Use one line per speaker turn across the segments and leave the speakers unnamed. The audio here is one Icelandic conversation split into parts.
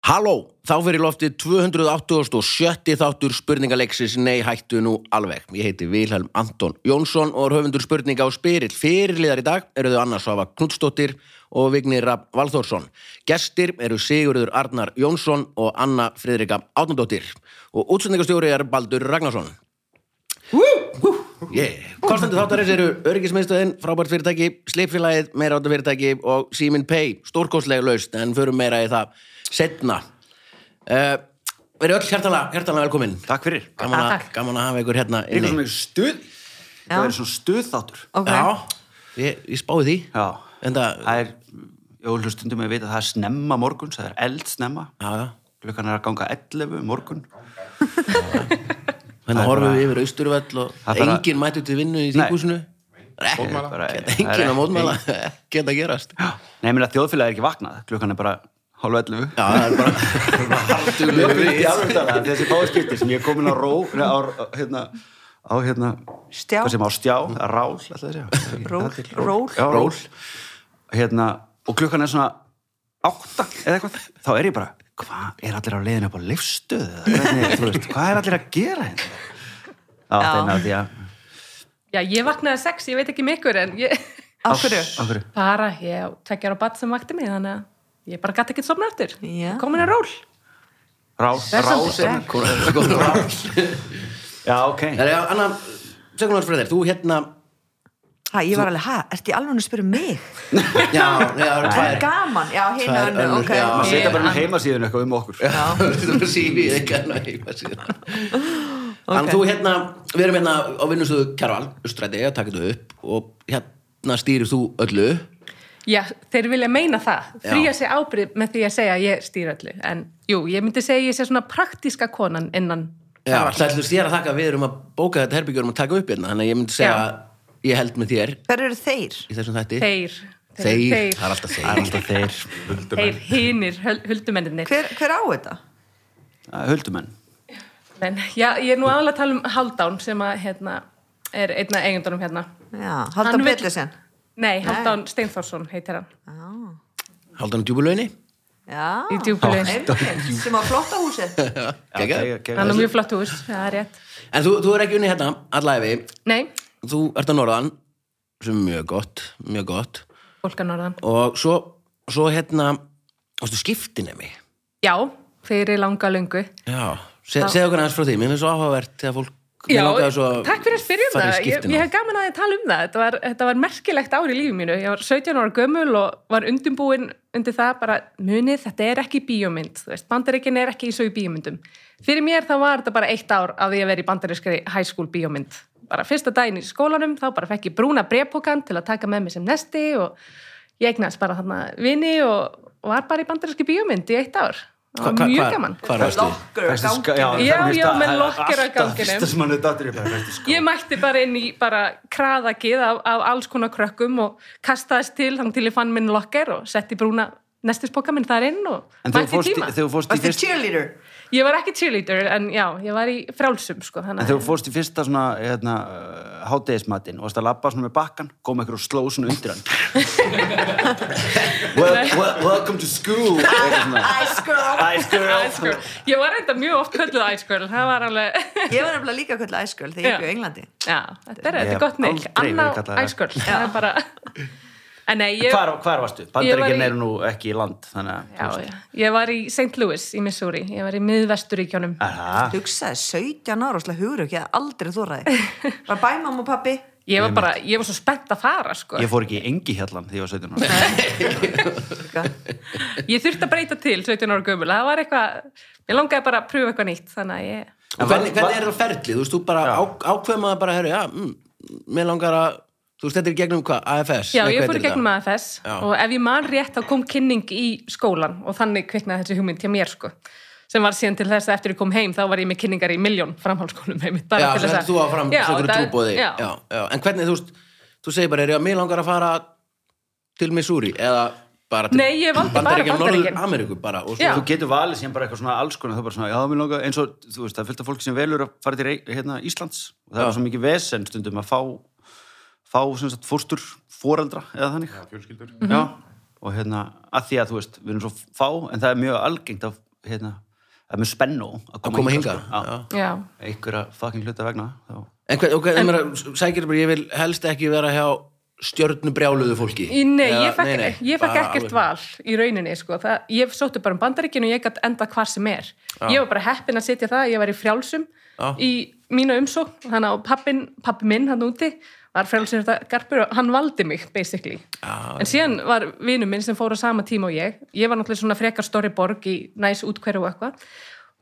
Halló, þá fyrir loftið 287. þáttur spurningaleiksins Nei hættu nú alveg. Ég heiti Vilhelm Anton Jónsson og er höfundur spurninga á spyrill. Fyrirliðar í dag eru þau Anna Svafa Knudsdóttir og Vignir Rapp Valþórsson. Gestir eru Sigurður Arnar Jónsson og Anna Friðrika Átnandóttir. Og útsendingastjóri er Baldur Ragnarsson. Yeah. Kostandi þáttarins eru öryggismiðstöðin, frábært fyrirtæki, slipfélagið, meira áttu fyrirtæki og Simin Pay, stórkostlega laust en förum meira í það setna. Uh, verið öll hjertalega, hjertalega velkomin.
Takk fyrir.
Gaman, að-
Takk, takk.
gaman að hafa ykkur hérna
Líka svona
inni.
mikið stuð. Það er svona stuðþáttur.
Ok,
Já, ég, ég spáði því.
Já.
En það,
Það er, jó, hlustundum ég veit að það er snemma morguns, það er eld snemma.
já, já.
Klukkan er að ganga 11 morgun.
Þannig
er
Hérna horfum
bara-
við yfir austurvöll og
Það er bara-
enginn mættu til vinnu í
Nei.
þingúsinu.
Mótmæla. Bara- það er
Enginn að mótmæla. Geta gerast. Já,
Nei, ég meina að þjóðfélagi er ekki vaknað. Klukkan er bara hálf 11.
það er bara, bara
Ég
halduglega
finnst
við.
í alveg talað að þessi fáskipti sem ég er komin á ró, nei, á, á- hérna, á, hérna,
Stjá.
hvað sem á stjá, eða rál, alltaf þessi.
Ról, ról.
Já, ról. Hérna, og klukkan er svona átta eða eitthvað, þá er ég bara, hvað er allir á leiðinu upp á leifstöðu? Hvað er allir að gera hérna? Já, það
Já.
er náttúrulega því að,
Já, ég vaknaði sex, ég veit ekki mikur en ég
Af hverju?
af hverju?
bara, ég tekja á bat sem vakti mig þannig að ég bara gæti ekki sofna eftir
Já.
komin að ról
Rál, rál.
Hressandi svefn.
Góð ráð.
Já, ok.
Það er, Anna, segum náttúrulega fyrir þér, þú hérna,
Hæ, ég var alveg, hæ, ert ég alveg að spyrja mig?
já, nei, það eru
Það er
tvær.
gaman, já, hinn
Tvær
og önnu,
önnur,
ok.
já.
Maður setja
Ég-
bara um heimasíðinu eitthvað um okkur.
Já,
Þetta var CV, ekki hann að heima síðan.
Ok.
Þannig þú hérna, við erum hérna á vinnustöðu Kjarval, Ustræti, að taka þetta upp og hérna stýrir þú öllu.
Já, þeir vilja meina það,
Já.
fríja sig ábyrð með því að segja að ég stýr öllu en jú, ég myndi segja að ég sé svona praktíska konan innan
Já, það ætlum þér að þakka að við erum að bóka þetta herbyggjum að taka upp hérna, þannig að ég myndi segja
Já.
að ég held með þér
hver eru þeir?
í þessum þætti.
þeir
Þeir, það er
þeir,
alltaf
Það
þeir.
er alltaf þeir,
þeir hinir höl- huldumennirnir
Hver, hver á þetta?
Það er huldumenn.
Men, já, ég er nú aðalega að tala um Haldán sem að hérna, er einna eigundunum hérna
Já, Haldan
Hann vill-
Petersen.
Nei, Haldán Steinforsson heitir hann
Haldan á djúbulauðinni.
Já,
Ah.
Í djúpulauginni.
einmitt, sem á flotta húsið.
Geggjað.
Hann er mjög flott hús, það er rétt.
En þú, þú er ekki unni hérna, allæfi,
Nei,
þú ert að norðan, sem er mjög gott, mjög gott.
fólk að norðan.
og svo, svo hérna ástu skiptinemi
Já, fyrir langa löngu.
já, Se, segðu okkur aðeins frá því mér finnst svo áhugavert þegar fólk mér
Já,
langaði svo að
takk fyrir að spyrja um
fara í
það. Ég,
skiptinám.
ég hef gaman að þið tala um það. Þetta var, þetta var merkilegt ár í lífi mínu. Ég var 17 ára gömul og var undumbúin undir það bara, munið, þetta er ekki bíómynd. Þú veist, Bandaríkin er ekki eins og í bíómyndum. Fyrir mér þá var þetta bara eitt ár af því að vera í bandarískri high school bíómynd. Bara fyrsta daginn í skólanum, þá bara fekk ég brúna brefpokan til að taka með mig sem nesti og ég eignast bara þarna vini og var bara í bandaríski bíómynd í eitt ár.
Hva-
Það
hva-
var mjög
hva-
gaman.
hvar varstu?
sko-
Lokkur, gangi.
Já, já, með lokker á ganginum.
Alltaf sem hann er dattur í bara, veistu sko.
Ég mætti bara inn í bara kraðakið af, af alls konar krökkum og kastaðist til þannig til ég fann minn lokker og setti brúna nestisboka minn þar inn og
En þegar þú
mætti í
fórst í-
tíma.
þegar þú fórst í
Varstu
fyrst...
cheerleader?
Ég var ekki cheerleader en já, ég var í frálsum sko.
En
Þannig
þegar
að
þú fórst í fyrsta svona, hérna, uh, hádegismatinn og varst að labba svona með bakkan, kom einhver og sló svona undir hann. well, well, welcome to school! eitthvað svona.
Ice girl.
Ice girl!
Ice Girl. Ég var enda mjög oft kölluð Ice Girl, það var alveg,
Ég var nefnilega líka kvöldlega Ice girl þegar ég
Já.
bjóð í Englandi.
já, þetta er, þetta
Ég
er gott
hef
neil,
aldrei verið
Anna
kallaður
Ice Girl, það er bara, en nei, ég,
Hvar, hvar varstu?
Ég
Bandaríkinn
var í-
eru nú ekki í land, þannig
já,
að...
já, ég var í St. Louis í Missouri, ég var í miðvesturíkjónum,
Aha.
Hugsaði 17 ára og slag hugur ekki að aldrei þóraði. Var bæmam og pappi?
ég var bara, ég var svo spennt að fara sko.
Ég fór ekki í engi hérlan því ég var 17 ára.
Líka.
Ég þurfti að breyta til 17 ára gömul, það var eitthvað, ég langaði bara að pröfa eitthvað nýtt, þannig að ég,
og hvernig, hvernig er það ferli, þú veist, þú bara á, ákveðmaði bara, herru, já, mm, mér langar að þú veist, þetta er í gegnum hvað, AFS
já,
Nei,
ég
hvað
fór
heitir
í gegnum
þetta?
AFS
Já.
og ef ég man rétt þá kom kynning í skólan og þannig kviknaði þessi hugmynd hjá mér, sko, sem var síðan til þess að eftir ég kom heim, þá var ég með kynningar í miljón framhaldsskólum heimitt,
já,
bara
svo
til þess
heldur þú að fram,
Já,
svo
það-
getur trúbóði já.
já.
Já, en hvernig, þú veist, þú segir bara, herru, já, mér langar að fara til Missouri eða bara til
Nei, ég valdi bara
Bandaríkjanna,
Bandaríkin.
Norður-Ameríku bara og
Já.
svo,
Þú getur valið sem bara eitthvað svona alls konar, það er bara svona, já, mér langar, eins og, þú veist, það er fullt af fólki sem velur að fara til Rey- hérna, Íslands og það
Já.
er svo mikið vesen stundum að fá, fá sem sagt, fórstur, foreldra eða Mhm. þannig. Já, fjölskyldur. Já, og hérna, að því að, þú veist, við erum svo fá, en það er mjög algengt að hérna, það er mjög spennu að
að
koma,
koma
hingað,
hingað
sko. Já.
Já.
já,
einhverja fucking hluta vegna þá.
En hvernig, ok, en, en, sækir bara, ég vil helst ekki vera hjá stjörnubrjáluðu fólki.
Í- Nei,
Eða-
ég fekk, ég fekk
bara
ekkert
alveg-
val í rauninni, sko. Það, ég sótti bara um bandaríkinu og ég gætt enda hvar sem er. Ég var bara heppin að sitja það, ég var í frjálsum
Já.
í mínu umsókn, þannig að pappin, pappi minn hann úti var frjálsum þetta garpur og hann valdi mig, basically.
Já,
en síðan var vinur minn sem fór á sama tíma og ég. Ég var náttúrulega svona frekar stóri borg í næs útkverju og eitthvað.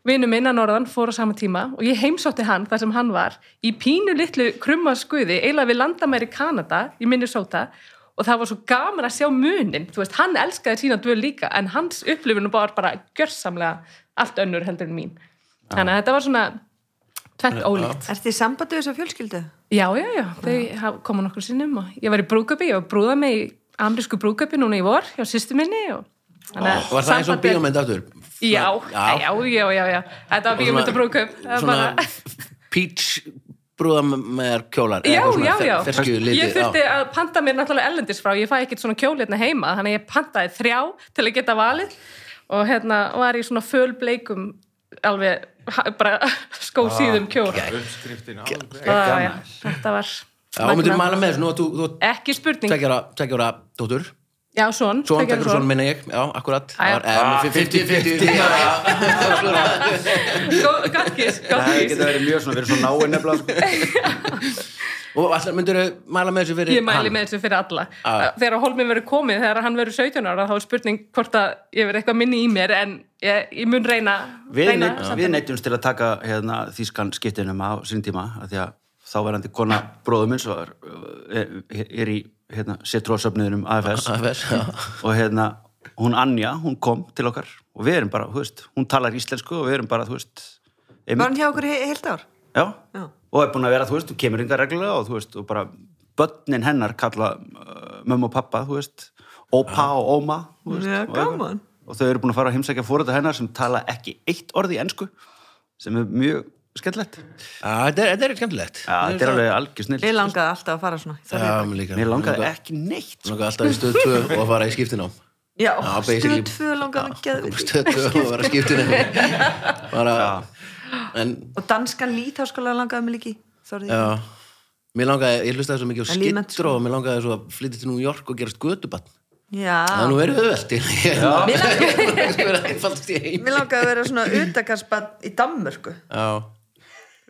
Vinur minn að norðan fór á sama tíma og ég heimsótti hann þar sem hann var í pínu litlu krummaskuði eiginlega við landamæri Kanada í Minnesota og það var svo gaman að sjá munin þú veist, hann elskaði sína dvöl líka en hans upplifinu var bara gjörsamlega allt önnur heldur en mín þannig að þetta var svona tvent ólíkt
Ertu í sambandi við þessa fjölskyldu?
já, já, já, þau koma nokkur sinnum og ég var í brúköpi, ég var brúða með í amrísku brúköpi núna í vor hjá sýstu minni og þannig að
Var það eins og
sambandið-
bíómynd aftur?
Já, já,
já.
já, já, já. Þetta var bíómynd og brúðkaup. Það var
Svona
bara-
peach brúða með kjólar. eða
Já,
eitthvað svona
já,
fer-
já.
ferskjuðu liti,
Ég þurfti
já.
að panta mér náttúrulega ellendis frá, ég fæ ekkert svona kjól hérna heima, þannig að ég pantaði þrjá til að geta valið og hérna var ég svona fölbleikum alveg ha- bara
Ah,
skósýðum kjól.
uppskriftin alveg
Það, já, þetta var...
Já, og myndir mæla með þessu, nú að þú, þú
Ekki spurning.
tveggjara, tveggjara dóttur.
Já, svon.
Svon,
tveggja ára
tveggjara svon minna ég, já, akkurat.
Æ,
Það var- eða,
Ah,
með 50-50. já.
Gó- Gottkís,
það
gottkís.
geta verið mjög svona, við erum svona náinn nefnilega sko.
Og alltaf myndir þau mæla með þessu fyrir
Ég mæli
hann?
með þessu fyrir alla.
Ah.
Já.
Þegar á Holmin verður komið, þegar hann verður 17 ára, þá er spurning hvort að ég verð eitthvað minni í mér, en ég, ég mun reyna...
við,
reyna
neitt,
samt.
við neittumst til að taka hérna, þýskan skiptinum á sín tíma af því að þá verðandi kona bróðum minn svo er, er, eh, er í hérna, setrósöfniðinum AFS
AFS, Ah, já.
og hérna hún Anja, hún kom til okkar og við erum bara, þú veist, hún talar íslensku og við erum bara, þú veist
Var
einmitt,
hann hjá okkur he- heilt ár?
já,
Já.
og er búin að vera, þú veist, hún kemur yngar reglulega og þú veist, og bara börnin hennar kalla uh, mömmu og pappa, þú veist opa og óma, þú veist
Já,
og eitthvað.
gaman.
og þau eru búin að fara að heimsækja fórölda hennar sem tala ekki eitt orð í ensku sem er mjög skemmtilegt
Já, þetta er- þetta er skemmtilegt.
ja, þetta er alveg algjör snill
Ég langaði alltaf að fara svona. Það-
Já, mér líka.
mér langaði ekki neitt
Mér
sko.
langaði alltaf í stöð 2 og að fara í skiptinám.
Já,
Já,
stöð
basically-
tvö langaði að geða við.
Stöð 2 og að vera í skiptinám. Bara, en,
Og danskan lítháskóla langaði mig líki. Þorði.
já, mér langaði, ég hlustaði svo mikið á
En lífmennt,
skittró og mér langaði svo að flytja til New York og gerast götubann.
Já.
Það er nú verið auðveldi. Já.
Mér langaði,
Það er sko verið að einfaldast í heim.
mér langaði að vera svona utakarsbann í Danmörku.
Já.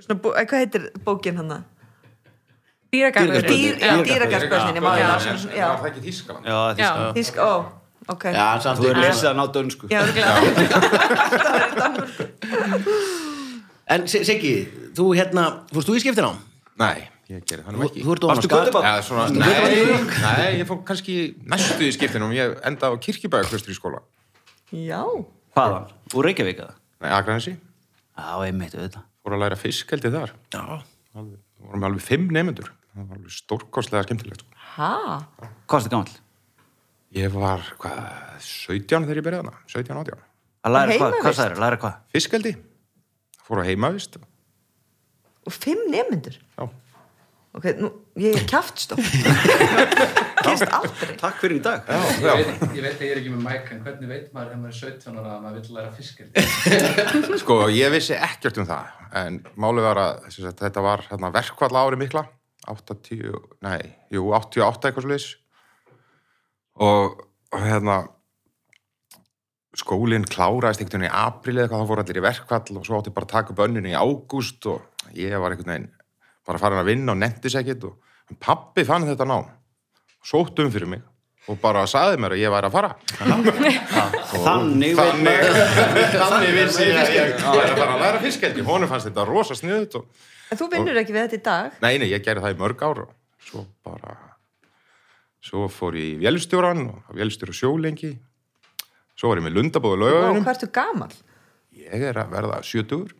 Svona, bó- eh, hvað heitir bókin hann það?
Dýragarðurinn.
Dýr-
Já.
Dýrakarsbönnin, ég má ég
Já, já,
það.
já,
Já,
var það ekki Þískaland
já, því,
Já.
Þísk, ó, ok.
Já, en samt
þú
ekki.
er lesið að ná dönsku
Já, örugglega.
En Se- Siggi, þú hérna, fórst þú í skiptinám?
Nei, ég gerði það nú
Þú
ekki
þú ert ofan á
Varstu
skall.
götubarn?
Já, svona, nei, nei, ég fór kannski næstu í skiptinum, ég enda á kirkjubæðaklaustur í skóla
Já.
hvaðan, úr Reykjavík eða?
Nei, Akranesi,
já, einmitt, auðvitað
fór að læra fisk held ég þar
Já.
alveg, vorum alveg fimm nefnendur það var alveg stórkostlega skemmtilegt sko.
Hæ?
hvað er þetta gamall?
ég var, hvað, 17 þegar ég byrjaði hana 17, 18,
að læra hvað,
Heimavist?
hvað það er, læra hvað?
fiskeldi fór á heimavist
Og fimm nemyndur?
já,
Ok, nú, ég er kjaftstof. Gerst aldrei.
takk fyrir í dag
já,
Ég
já.
veit, ég veit að ég er ekki með mæk, en hvernig veit maður þegar maður er 17 ára að maður vill læra fiskildi?
Sko, ég vissi ekkert um það, en málið var að sem sagt, þetta var hérna, verkvall ári mikla, 80, nei, jú, 88 eitthvað sliðis og og hérna, skólinn kláraðist einhvern veginn í apríl eða eitthvað, þá fóru allir í verkvall og svo átti bara að taka upp önnunni í ágúst og ég var einhvern veginn bara farin að vinna og nefndis ekkert og en pappi fann þetta nám, sótt um fyrir mig og bara saði mér að ég væri að fara.
þannig veit
Þannig, þannig vissi ég að ég var að fara að læra fiskeldi. Honum fannst þetta rosa sniðut og...
En þú vinnur ekki við þetta í dag.
Nei, nei, ég gerði það í mörg ár og svo bara... Svo fór ég í vélstjóran og vélstjóra sjólengi. Svo var ég með
Ó,
lundabóðu
hvað
lögauðinum.
ertu gamal?
Ég er að verða sjötugur.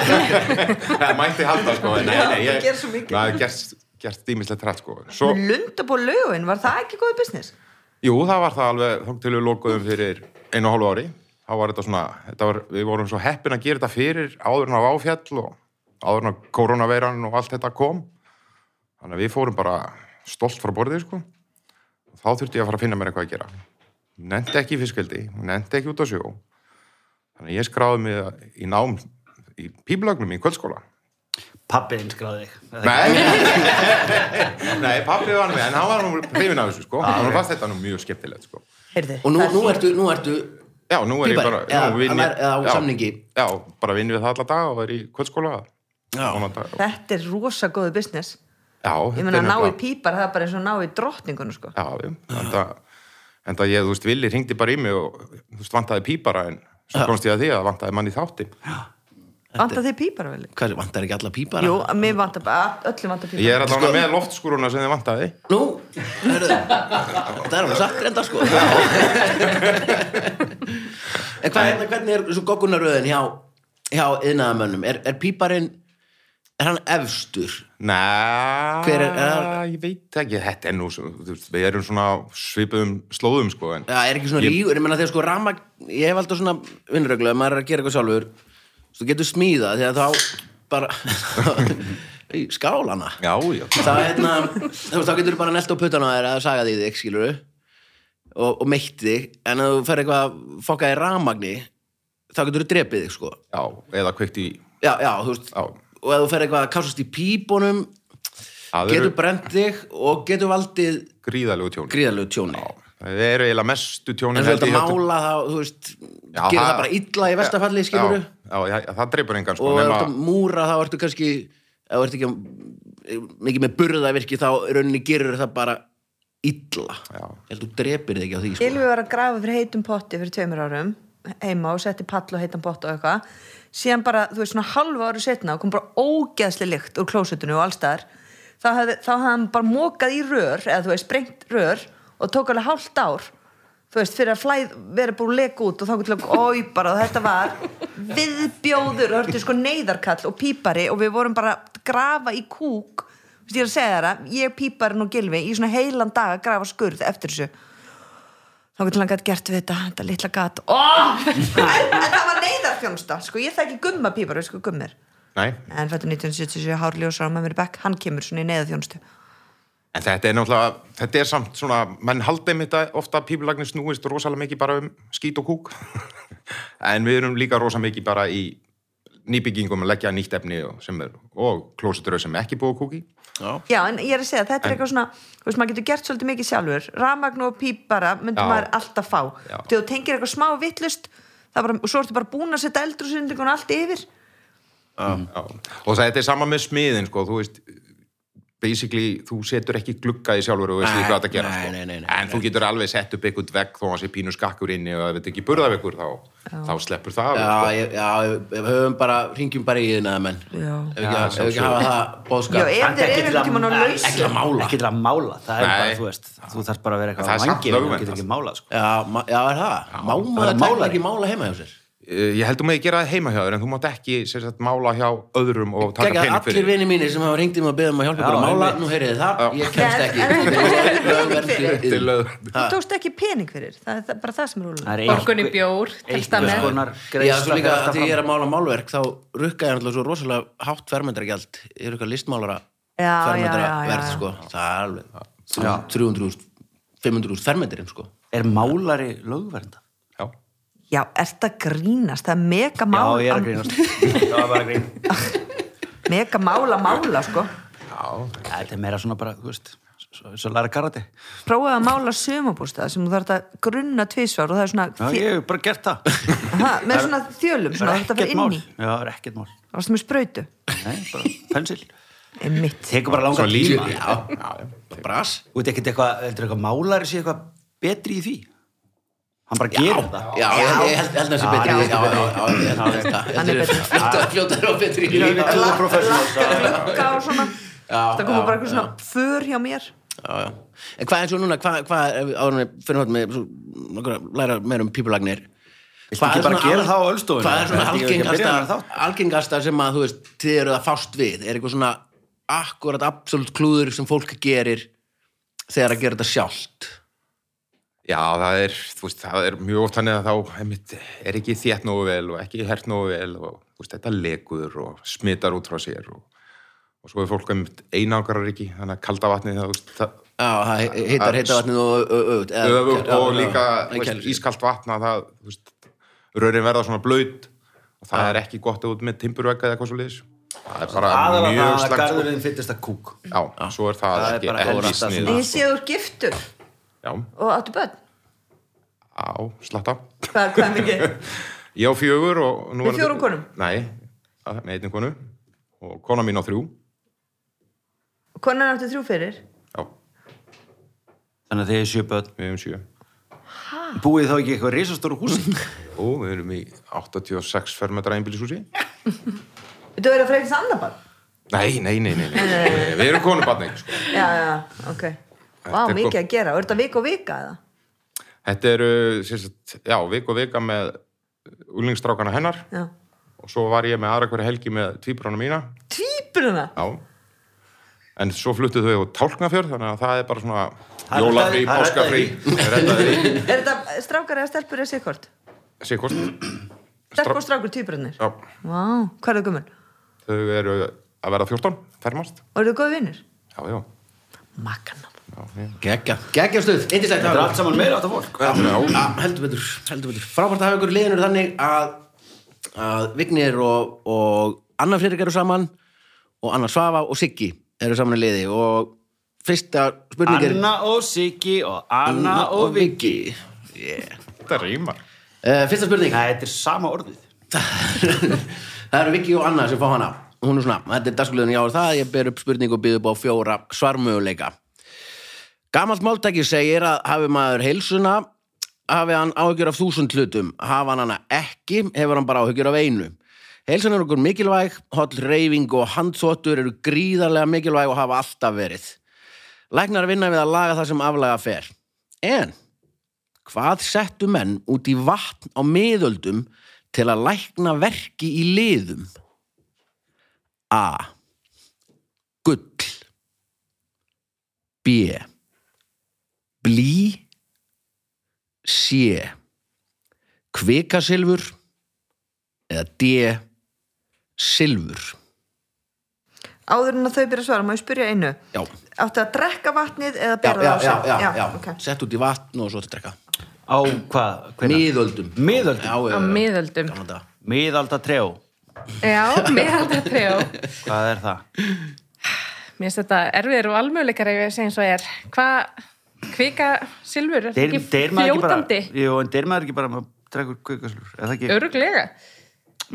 það mætti halda, sko. en Nei, nei,
Það
ég...
gerir svo mikið.
Það er gert, gert dýmislegt trætt, sko. Svo,
Með Lundabó lögin, var það ekki góð business?
jú, það var það alveg þóng til við lokuðum fyrir einu og hálfu ári. Þá var þetta svona, þetta var, við vorum svo heppin að gera þetta fyrir áður en á áfjall og áður en á koronaveiran og allt þetta kom. Þannig að við fórum bara stolt frá borðið, sko. Og þá þurfti ég að fara að finna mér eitthvað að gera. Nendi ekki í fiskveldi, nendi ekki út á sjó. Þannig að ég skráði mig í nám í píblögnum í kvöldskóla.
Pappiðin skráði þig. Er það
Nei, nei, pappi var með, en hann var nú hrifin af þessu, sko. Hann fannst þetta nú mjög skemmtilegt, sko.
Heyrðu,
Og nú,
það er
nú
fínt.
ertu, nú ertu
Já, nú er
Pípari,
ég bara...
eða-
nú vinn ég-
eða- eða á
já,
samningi.
Já, bara vinn við það alla daga og er í kvöldskóla.
Já.
Svona dag-
Þetta er rosa góðu business
Já,
Ég
þetta
meina
er
að ná í
nefnilega-
pípar, það er bara eins og að ná í drottningunum sko.
Já, já, en það, en það ég, þú veist, Vili ringdi bara í mig og þú veist, vantaði pípara en svo komst ég að því að það vantaði mann í þátti.
Vantar þið pípar vel?
Hvað, vantar ekki alla pípara?
Jú, mér vantar bara, öllum vantar pípar
Ég er
Sko-
allavega með loftskúruna sem þið vantaði.
Nú, hörðu, það er alveg satt reynda sko. en hvað, hérna, hvernig er svo goggunaröðin hjá, hjá yðnaðamönnum? Er, er píparinn, er hann efstur?
Næ,
Hver er- er-
ég veit ekki, þetta er nú, svo- þú veist, við erum svona á svipuðum slóðum, sko, en
Já, er ekki svona lígur, ég meina þegar sko rama, ég hef alltaf svona vinnröglu ef maður er að gera eitthvað sjálfur, þú getur smíða þegar þá bara í skálana
já, já,
þá, hérna, þú veist, þá getur þú bara nelt á puttana þér að saga því þig, skilur og, og meitt þig, en ef þú fer eitthvað að fokka í ramagni þá getur þú drepið þig, sko
já, eða kveikt í,
já, já, þú veist,
já,
og ef þú fer eitthvað að kásast í pípunum,
það
getur
eru
er... brent þig og getur valdið
gríðalegu tjóni.
gríðalegu tjóni
Það eru eiginlega mestu tjónin
en svo þetta
ég, hjá-
mála þá, þú veist
Já,
gerir það bara illa í vestafalli, skilur
Já, já, já, það dreipur engan, sko,
og ef þú
nema,
ert að múra þá ertu kannski ef þú ert ekki mikið með burðavirki þá í rauninni gerur það bara illa
Já.
ég held þú drepir þig ekki á því sko.
Ylvi var að grafa fyrir heitum potti fyrir tveimur árum heima og setti pall og heitan pott og eitthvað síðan bara, þú veist, svona halva áru setna og kom bara ógeðsli lykt úr klósutinu og allstaðar þá hafði, þá hafði hann bara mókað í rör eða þú veist, sprengt rör og tók alveg hálft ár þú veist, fyrir að flæð vera búin að leka út og þá getur lók, oi bara, og þetta var viðbjóður, það hörtu sko neyðarkall og pípari og við vorum bara að grafa í kúk, þú veist, ég er að segja þér að ég píparinn og gilvi í svona heilan dag að grafa skurð eftir þessu þá getur hann gætt gert við þetta, þetta litla gat oh! en, en það var neyðarfjónusta sko, ég þekki gumma pípar, veist sko gummir
nei,
en fættu 1977 hárljósar á maður í bekk, hann kemur svona í neyðarfjónustu
En þetta er náttúrulega, þetta er samt svona, menn haldið mitt að ofta pípulagnir snúist rosalega mikið bara um skít og kúk. en við erum líka rosalega mikið bara í nýbyggingum að leggja nýtt efni og, sem er, og klósitröð sem er ekki búið að kúki.
já, en ég er að segja, þetta er eitthvað svona þú veist, maður getur gert svolítið mikið sjálfur rafmagn og pípara myndum
Já.
maður alltaf fá
Já.
þegar þú tengir eitthvað smá vittlust bara, og svo ertu bara búin að setja eldrúsindingun allt yfir
Já. Og þetta er sama með smiðin, sko, þú veist, basically, þú setur ekki glugga í sjálfur og veist
Nei,
ekki hvað það gera,
nei,
sko.
nei, nei, nei,
en þú getur alveg sett upp einhvern vegg þó að hann sé pínu skakkur inni og ef þetta ekki burðar ykkur, þá, þá sleppur það. alveg, sko.
já, ég, já, við höfum bara ringjum bara í yðna menn
já,
ef ekki, ef ekki hafa það
já
bóðskap
ef þeir
ekki
eru
til að-
ekki mann á laus
ekki að mála
Ekki til að mála, það er
Nei.
bara, þú veist, þú þarf bara að vera
Það
eitthvað
er samt
vangi, þú
lögmenn,
getur
það.
ekki mála, sko.
já, ma- já, er það, má
bara
maður tækla
málari.
ekki mála heima hjá sér
Uh, Ég held um að ég gera það heima hjá þér en þú mátt ekki sem sagt, mála hjá öðrum og taka
Gekka,
pening
allir
fyrir.
vini mínir sem hafa ringt um að beða um að hjálpa ykkur að
Já,
mála,
einmitt.
nú heyrið þið það, ég kemst
En- en þú tókst ekki pening fyrir.
ekki
Til löð.
þú tókst ekki pening fyrir það er það- bara það sem er úrlega
Það er
Orkunni
einhver-
bjór, telst það
einhvers
með.
konar
Já, svo
greiðsla
líka
fyrir þetta
þegar ég er
fram.
að mála málverk þá rukka ég alltaf svo rosalega hátt fermendargjald ég er eitthvað listmálara
Já, já, já, já,
fermendarverð
já.
sko, það er alveg 300 500 fermendarinn sko
Er málari lögvernda?
Já.
já, er þetta grínast, það er mega
Já,
mál
ég er að grínast. Já, bara að grín.
mega mála mála sko
Þetta er meira svona bara, þú veist, svo, svo læra karate.
prófaðu að mála sumabústað sem þú þarf að grunna tvísvar og það er svona,
Já,
þi-
ég hef bara gert það.
ha, með svona þjölum
Það
svona
er
þetta fyrir
ekkert
inn
mál.
í,
Já, það er ekkert mál.
það var sem er sprautu
Nei, bara pensil.
einmitt,
Tekur bara
Svo
langa
líka.
tíma.
Já, já, já.
bras
Þú veit ekkert eitthvað, heldur eitthvað málari sé eitthvað betri í því? Hann bara gerir það.
Já, ég ég held held að það sé
Já,
betri
ég
Já, já,
held að
já, já, ég held- held að
Hann er
það
betri.
Þetta er fljótar og betri í lífi.
Two professionals.
glugga og svona það
já,
komur bara eitthvað svona för hjá mér
Já, já En hvað er svo núna, hvað, hvað ef við- áður en við fyrir hótt með svo- nokkur að læra meira um pípulagnir
ekki bara
svona
gera
al-
það á Ölstofunni?
Hvað er svona
Ertu ekki að byrja með
algengasta,
þátt?
algengasta sem að þú veist, þið eruð að fást við er eitthvað svona akkurat absolutt klúður sem fólk gerir þegar að gera þetta sjálft
já, það er, þú veist, það er mjög oft þannig að þá einmitt, er ekki þétt nógu vel og ekki hert nógu vel og þú veist, þetta legur og smitar út frá sér og, og svo er fólk einmitt einangrar ekki, þannig að kalda vatnið það, þú veist, það
Já, það he- heitar heita vatnið og öfugt eða-
öfugt og
já,
líka
já,
þú
kælir
veist,
sig.
ískalt vatna það, þú veist, rörin verða svona blöyt og það er ekki gott út með timburvegga eða eitthvað svo liðis það er bara
Aðalega
mjög
það að
slæmt sko.
garðurinn fyllist að kúk.
já, svo er það,
Það er
ekki,
bara
ekki
helvítast
snið
svona.
Ég sé úr giftur
já,
og áttu börn.
á, slatta
Hvað, hvað er mikið?
ég á fjögur og nú
Með
er-
fjórum konum?
nei, að- með einni konu og kona mín á þrjú
Konan áttu þrjú fyrir.
já,
Þannig að þið er sjö börn.
við erum sjö
Búið þið þá ekki eitthvað risastóru húsi?
og við erum í 86 fermetra einbílisúsi
Þú verður að freyta annað barn?
nei, nei, nei, nei, nei. við erum konubarni sko.
Já, já, ok. Vá,
Þetta er
mikið
gott.
að gera. Er þetta vik og vika eða?
Þetta eru, sem sagt, já, vik og vika með úlingstrákana hennar
Já.
og svo var ég með aðra hverja helgi með tvíbrana mína,
Tvíbruna?
já. En svo fluttu þau á Tálknafjörð, þannig að það er bara svona
Það er
jólafrí,
reddaði- það
páskafrí, reddaði,
Er þetta strákar eða stelpur eða sikkort?
síkost,
Stelpur og strákur tvíbrunir?
já,
Vá, hvað er það gummul?
þau eru að verða 14, fermast,
Og eru þau góð vinnir?
já, já,
Makanam.
já, já.
Gekkja, gekkja stuð, indislegt
Þetta er allt saman meira átt af fólk.
Já, já, Ah, heldur betur, heldur betur Frábært að hafa ykkur í liðinu þannig að, að Vignir og, og Anna Friðrik eru saman og Anna Svava og Siggi eru saman í liði og fyrsta spurning er
Anna og Siggi og Anna og Vig.
Viggi yeah.
Þetta rýmar.
uh, Fyrsta spurning
Nei, þetta er sama orðið.
Það eru Viki og Anna sem fá hana Hún er svona, þetta er dagskulegðin í ár það Ég ber upp spurningu og býð upp á fjóra svarmöguleika Gamalt máltæki segir að hafi maður heilsuna hafi hann áhyggjur af þúsund hlutum hafa hann hana ekki, hefur hann bara áhyggjur af einu Heilsun er okkur mikilvæg, holl reyfing og handþóttur eru gríðarlega mikilvæg og hafa alltaf verið Læknar vinna við að laga það sem aflaga fer En Hvað settu menn út í vatn á miðöldum til að lækna verki í liðum? A. Gull B. Blí C. Kvikasilfur eða D. Silfur
Áður en að þau byrja að svara, má ég spyrja einu?
Já,
Áttu að drekka vatnið eða
já, já,
bera það á
já,
sig?
já, já.
ok.
Sett út í vatn og svo til drekka
Á hvað? Hvenær?
Miðöldum
Miðöldum?
Já, já,
á
já,
miðöldum.
gamla daga.
Miðalda trjó.
Já, miðaldatrjó.
Hvað er það?
Mér finnst þetta erfiðir og almöguleikar ef ég segja eins og er. Hvað, kvika silfur, er það
Deyr,
ekki
deyr maður ekki bara...
fljótandi?
Jú, en deyr maður ekki bara að maður drekkur kvikaslur. Er það ekki?
Öruglega.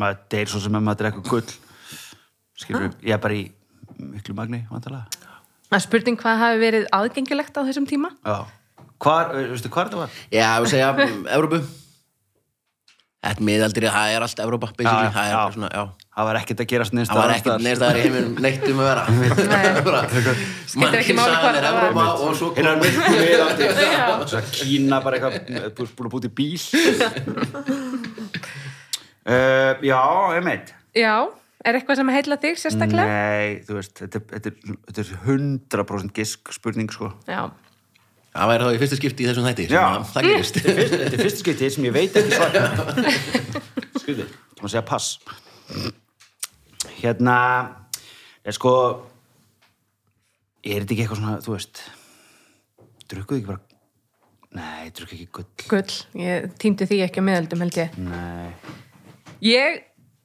Maður deyr svo sem ef maður drekkur gull. Skilur við, ég er bara í miklu magni, vantalega.
Það er spurning hvað hafi verið aðgengilegt á þessum tíma.
Já. Hvar, veistu hvar það var?
Já, ég vil segja mm, Evrópu Þetta miðaldri, það er allt Evrópa basically,
Já, já,
það er
já.
bara svona, já
Það var ekkert að gerast neins
Það var
staðar
ekkert
annars
neist það er í heiminum neitt um að vera Bara-
Skiptir ekki
Mannkyn
máli
sagan
hvar
er
það var.
Evrópa og svo
Hérna er miklu miðaldi.
Já.
Svo að Kína bara eitthvað, eh, búin búin að búti bíl. Uh, já, einmitt.
Já, er eitthvað sem heilla þig sérstaklega?
Nei, þú veist, þetta, er- þetta, er- þetta er 100% gisk spurning, sko.
Já.
Það væri þá í fyrsta skipti í þessum þætti sem
Já.
að Það gerist
Þetta er fyrsta skiptið sem ég veit ekki svara Skriði, þú maður segja pass Hérna er sko er þetta ekki eitthvað svona, þú veist drukkuðu ekki bara Nei, drukku ekki gull
Gull, ég týndi því ekki á miðöldum held ég.
Nei.
Ég,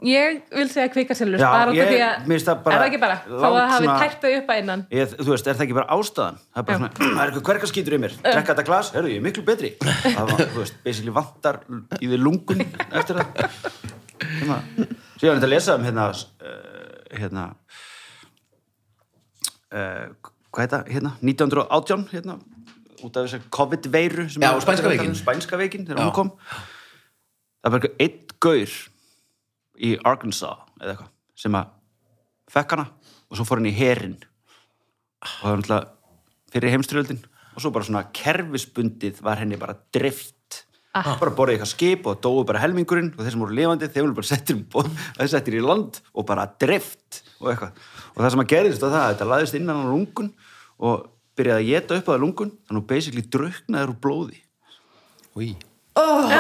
ég vil segja kvikasilfur,
Já,
bara út af
ég-
því að,
mér finnst það bara
er það ekki bara, þó að
langt
það hafi
svona-
tært þau upp að innan.
Ég, þú veist, er það ekki bara ástæðan? Það er bara svona, það er eitthvað hverka skýtur í mér drekka þetta glas, herru, ég er miklu betri það var, þú veist, basically vantar í því lungun eftir það hérna, síðan er þetta að lesa um hérna uh, hérna uh, hvað heita, hérna 1918, hérna út af þessar COVID-veiru sem
Já,
er-
spænska veikin.
um spænska veikin,
Já.
þegar hún kom það var eitthvað eitt gaur í Arkansas eða eitthvað, sem að fekk hana og svo fór hann í herin og það var náttúrulega fyrir heimstyrjöldin og svo bara svona kerfisbundið var henni bara drift bara borðið eitthvað skip og dóu bara helmingurinn og þeir sem voru lifandi, þeir voru bara settir, um borð- þeir settir í land og bara drift og eitthvað, og það sem að gerðist var það að þetta laðist innan á lungun og byrjaði að geta upp að lungun þannig að basically druknaður úr blóði
Új.
Oh.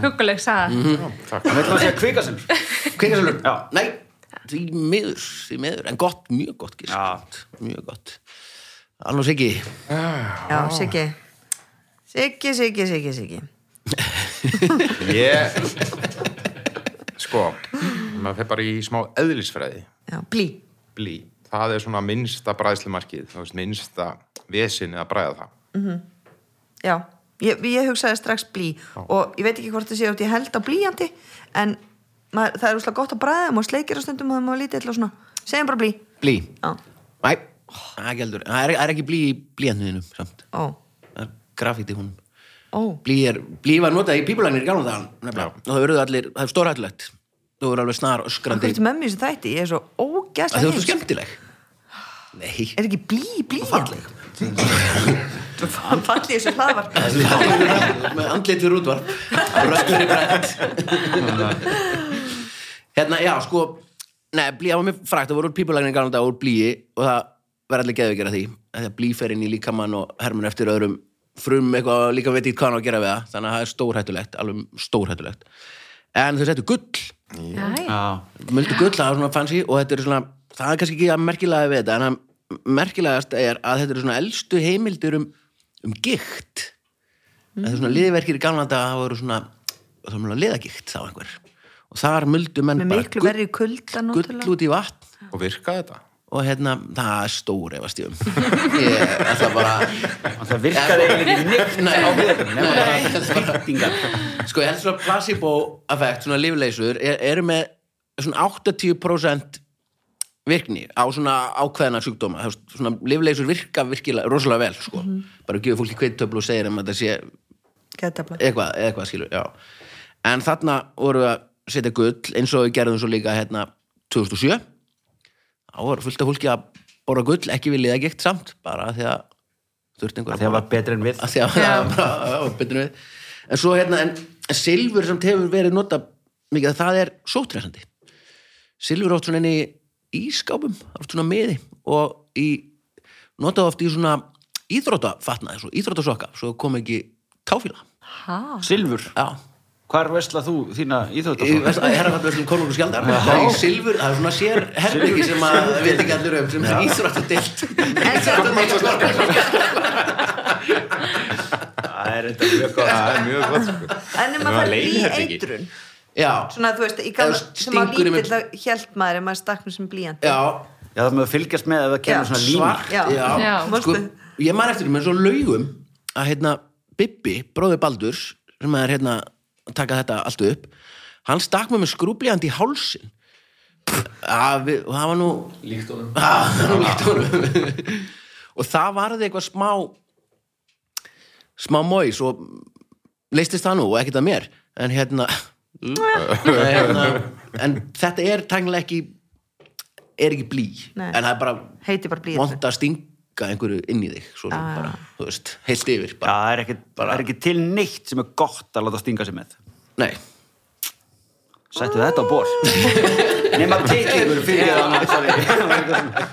Huguleg saða.
Mhm. þannig að það sé að kvika sem
Kvikasilfur,
Já.
nei Því miður, því miður, en gott, mjög gott gisk Mjög gott Annars ekki
Já, Siggi. Siggi, Siggi, Siggi, Siggi.
Ég Sko, maður fer bara í smá eðlisfræði
já, blí
blí. Það er svona minnsta bræðslumarkið, þú veist, minnsta vesinni að bræða það.
Já, ég, ég hugsaði strax blí og ég veit ekki hvort það sé út ég held á blíjandi en maður, það er úslega gott að bræða og sleikir á stundum og það má lítið eitthvað svona segjum bara blí
Blí.
Já,
Næ, það er ekki heldur. Það er, það er ekki blí í blíjanduðinum samt.
ó,
Það er grafíti hún.
ó,
Blí, er, blí var notað í pípulagnir í gálum þaðan, nefnilega. Og það verður allir, það er stórhættulegt. Þú verður alveg snar
hvað
öskrandi.
ertu með mér sem þætti? Ég er svo
Að Þú
ógæslega
ert svo skemmtileg. Nei.
Er ekki blí, blíjandi? Falli þessu hlaðvarp
með andlit fyrir útvarp röttur í brett hérna, já, sko nei, blí, það var mjög frækt, það voru pípulagnir gana dag úr blíi og það verður allir geðveikir að því að því að blí fer inn í líkamann og hermun eftir öðrum frum eitthvað og líka veit í hvað hann á að gera við það þannig að það er stórhættulegt, alveg stórhættulegt en þau settu gull
Æ,
Já,
Möldu gull, það er svona fancy og þetta er svona, það er kannski ekki að merkilega við þetta, en að merkilegast er að þetta eru svona elstu heimildir um, um gikt þetta er svona
Mhm.
liðverkir í gamla daga það voru svona, það var liðagikt þá einhver, og þar möldu menn
Með
bara
miklu verri kulda
gull, gull
náttúrulega
út í vatn
Og virka þetta.
og hérna, það er stór efast ég um ég, það bara
og það virkaði eiginlega ekki neitt
Nei,
á viðum, nema
nei.
bara skýtingar.
Sko, ég held svona placebo-effekt, svona lífleysur, er, eru með svona 80% virkni á svona ákveðna sjúkdóma. Þú veist, Svona lífleysur virka virkilega, rosalega vel, sko. Bara gefur fólki kveittöflu og segir um að þetta sé
Geðtefla.
eitthvað, eitthvað skilur, já. En þarna voru við að setja gull eins og við gerðum svo líka hérna 2007. Þá voru fullt af fólki að borra gull, ekki við liða gikt samt, bara af því að þurfti einhver
Af því að það var betra en við.
að því að það var bara- það var betur við en svo hérna, en en silfur sem hefur verið nota mikið, það er sótræsandi silfur er oft svona inn í ískápum oft svona miði og í, notað oft í svona íþróttafatnaði, svo íþróttasokka svo kom ekki táfíla
Ha?
Ah.
Silfur,
já,
hvar vesla þú þína
í
íþjóðtafólk?
herrafallverslum konungur skjaldar það er í silfur, það er svona sér herrbyggi sem að við ekki allir um, sem er íþróttadelt íþróttadelt
Það er þetta mjög góð.
Það er mjög gott, sko.
En ef maður
var
fær blí
leyniherbergi.
eitrun
já,
Svona þú veist, í gamla
Eða
sem að
stingur í
lítill
mig-
að hjælt maður ef maður stakk með sem blíjandi
já
Já, það maður fylgjast með ef það
Já,
kemur svona líma.
svart,
Já.
já,
Já.
Sko, ég maður eftir því með svo laugum að hérna Bibbi, bróði Baldurs sem er hérna að taka þetta allt upp hann stakk mér með skrúblíðandi í hálsin að við, það var nú
Líkt og um
að, það var nú líkt honum. og það varði eitthvað smá smá móis og leistist það nú og ekkert að mér en hérna, en, hérna en þetta er tæknilega ekki er ekki blí
Nei.
en það er bara
Heiti bara Ah. blíjandi
vond að stinga einhverju inn í þig svona
Já, já,
bara, þú veist, heilt yfir
Já,
bara,
það er ekki, það er ekki til neitt sem er gott að láta stinga sig með.
nei,
Sættu þetta á ból. Nefna titlingur fyrir það.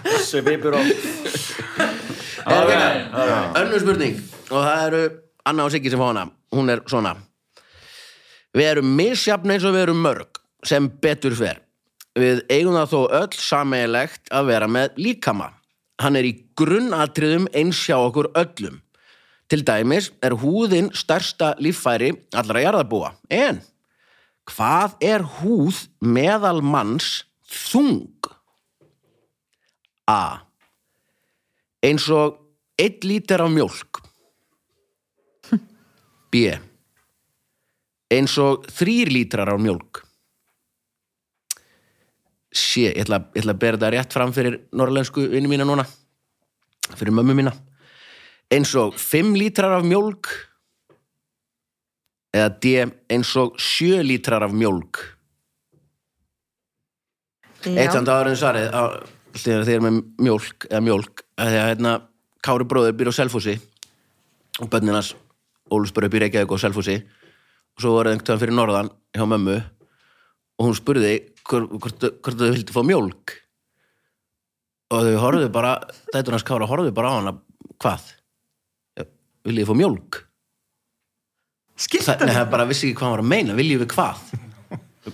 Þessu vipur á...
all right, all right. hérna, önnur spurning og það eru Anna og Siggi sem fá hana hún er svona við erum misjafn eins og við erum mörg sem betur fer við eigum það þó öll sameigilegt að vera með líkama hann er í grunnatriðum eins hjá okkur öllum til dæmis er húðin stærsta líffæri allra jarðarbúa en hvað er húð meðal manns þung? A. Eins og 1 lítir af mjólk. B. Eins og 3 lítrar af mjólk. C. Ég ætla, ég ætla að bera þetta rétt fram fyrir norrlensku vinni mína núna. Fyrir mömmu mína. Eins og 5 lítrar af mjólk eða D eins og 7 lítrar af mjólk eitt samt áður en svarið á, þegar þeir eru með mjólk eða mjólk að því að hérna Kári bróður býr á Selfossi og bönnin hans Ólus bróður býr ekki á Selfossi og svo voru einhvern veginn fyrir norðan hjá mömmu og hún spurði hvort, hvort, hvort þau vildi fá mjólk og þau horfðu bara dætur hans Kára horfðu bara á hana hvað? "Já, Viljið þið fá mjólk?
Skilta
Það, nei, það bara vissi ekki hvað hann var að meina, viljið við hvað?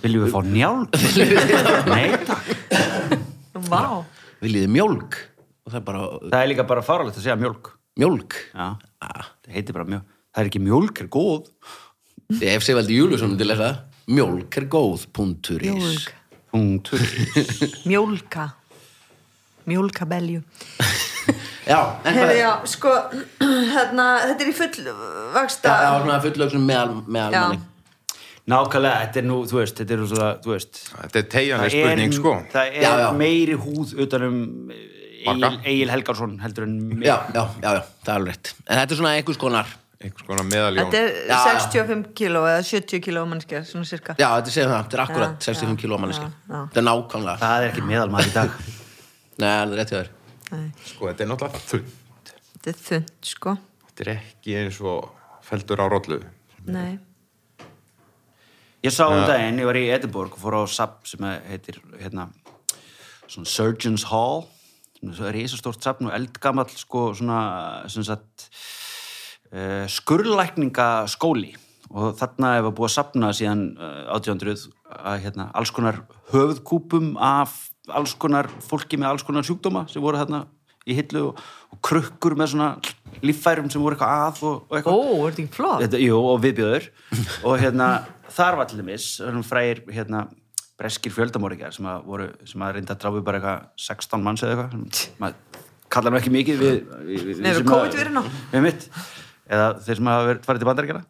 Viljum við fá njálg? Nei, takk.
Vá
viljið þið mjólk og það er bara
Það er líka bara faralegt að segja mjólk.
mjólk
Já,
ah,
það heitir bara mjólk. Það er ekki mjólk, er góð.
Ef Sigvaldi Júlusson myndi lesa Mjólk er góð punktur is
Mjólk.
Punktur.
Mjólka. Mjólka belju.
Já, en
Hefði,
bara
já, sko, hérna, þetta er í full vaksta.
Það var svona fullöksum meðal, meðal
Já.
manni
Nákvæmlega, þetta er nú, þú veist, þetta er nú svona, þú veist.
Þetta er tegjanlega spurning, sko.
það er
Já, já.
meiri húð utan um Egil,
Bagga.
Egil Helgarsson heldur en mig.
já, já, já, já, það er alveg rétt En þetta er svona einhvers konar
Einhvers konar meðaljón.
Þetta er
Já, já.
65 kíló eða 70 kíló mannskja, svona cirka.
Já, þetta segir það, þetta er akkurat
Já,
65
já,
kíló manneski
já, já.
Þetta er nákvæmlega
það er ekki meðalmaður í dag
Nei, það er rétt hjá þér
Nei,
Sko, þetta er náttúrulega þunnt.
þetta er þund, sko.
Þetta er ekki eins og feldur á rollu.
Nei.
ég sá um daginn, ég var í Edinburgh og fór á sap sem að heitir hérna, svona Surgeons Hall það er risastórt sapn og eldgamall sko svona sem sagt, uh, skurlækningaskóli og þarna hefur búið að sapna síðan uh, 1800 að hérna, alls konar höfðkúpum af alls konar fólki með alls konar sjúkdóma sem voru þarna í hillu og, og krukkur með svona líffærum sem voru eitthvað að og, og eitthvað
Ó, er þetta ekki flott?
þetta, jú, og viðbjöður og hérna, þar var til dæmis þessum frægir, hérna, breskir fjöldamorgjar sem að voru, sem að reynda að dráfi bara eitthvað 16 manns eða eitthvað sem maður kallar nú ekki mikið við, við, við,
Nei, við
sem að-
COVID-víruna.
við mitt eða þeir sem hafa verið farið til bandaríkjana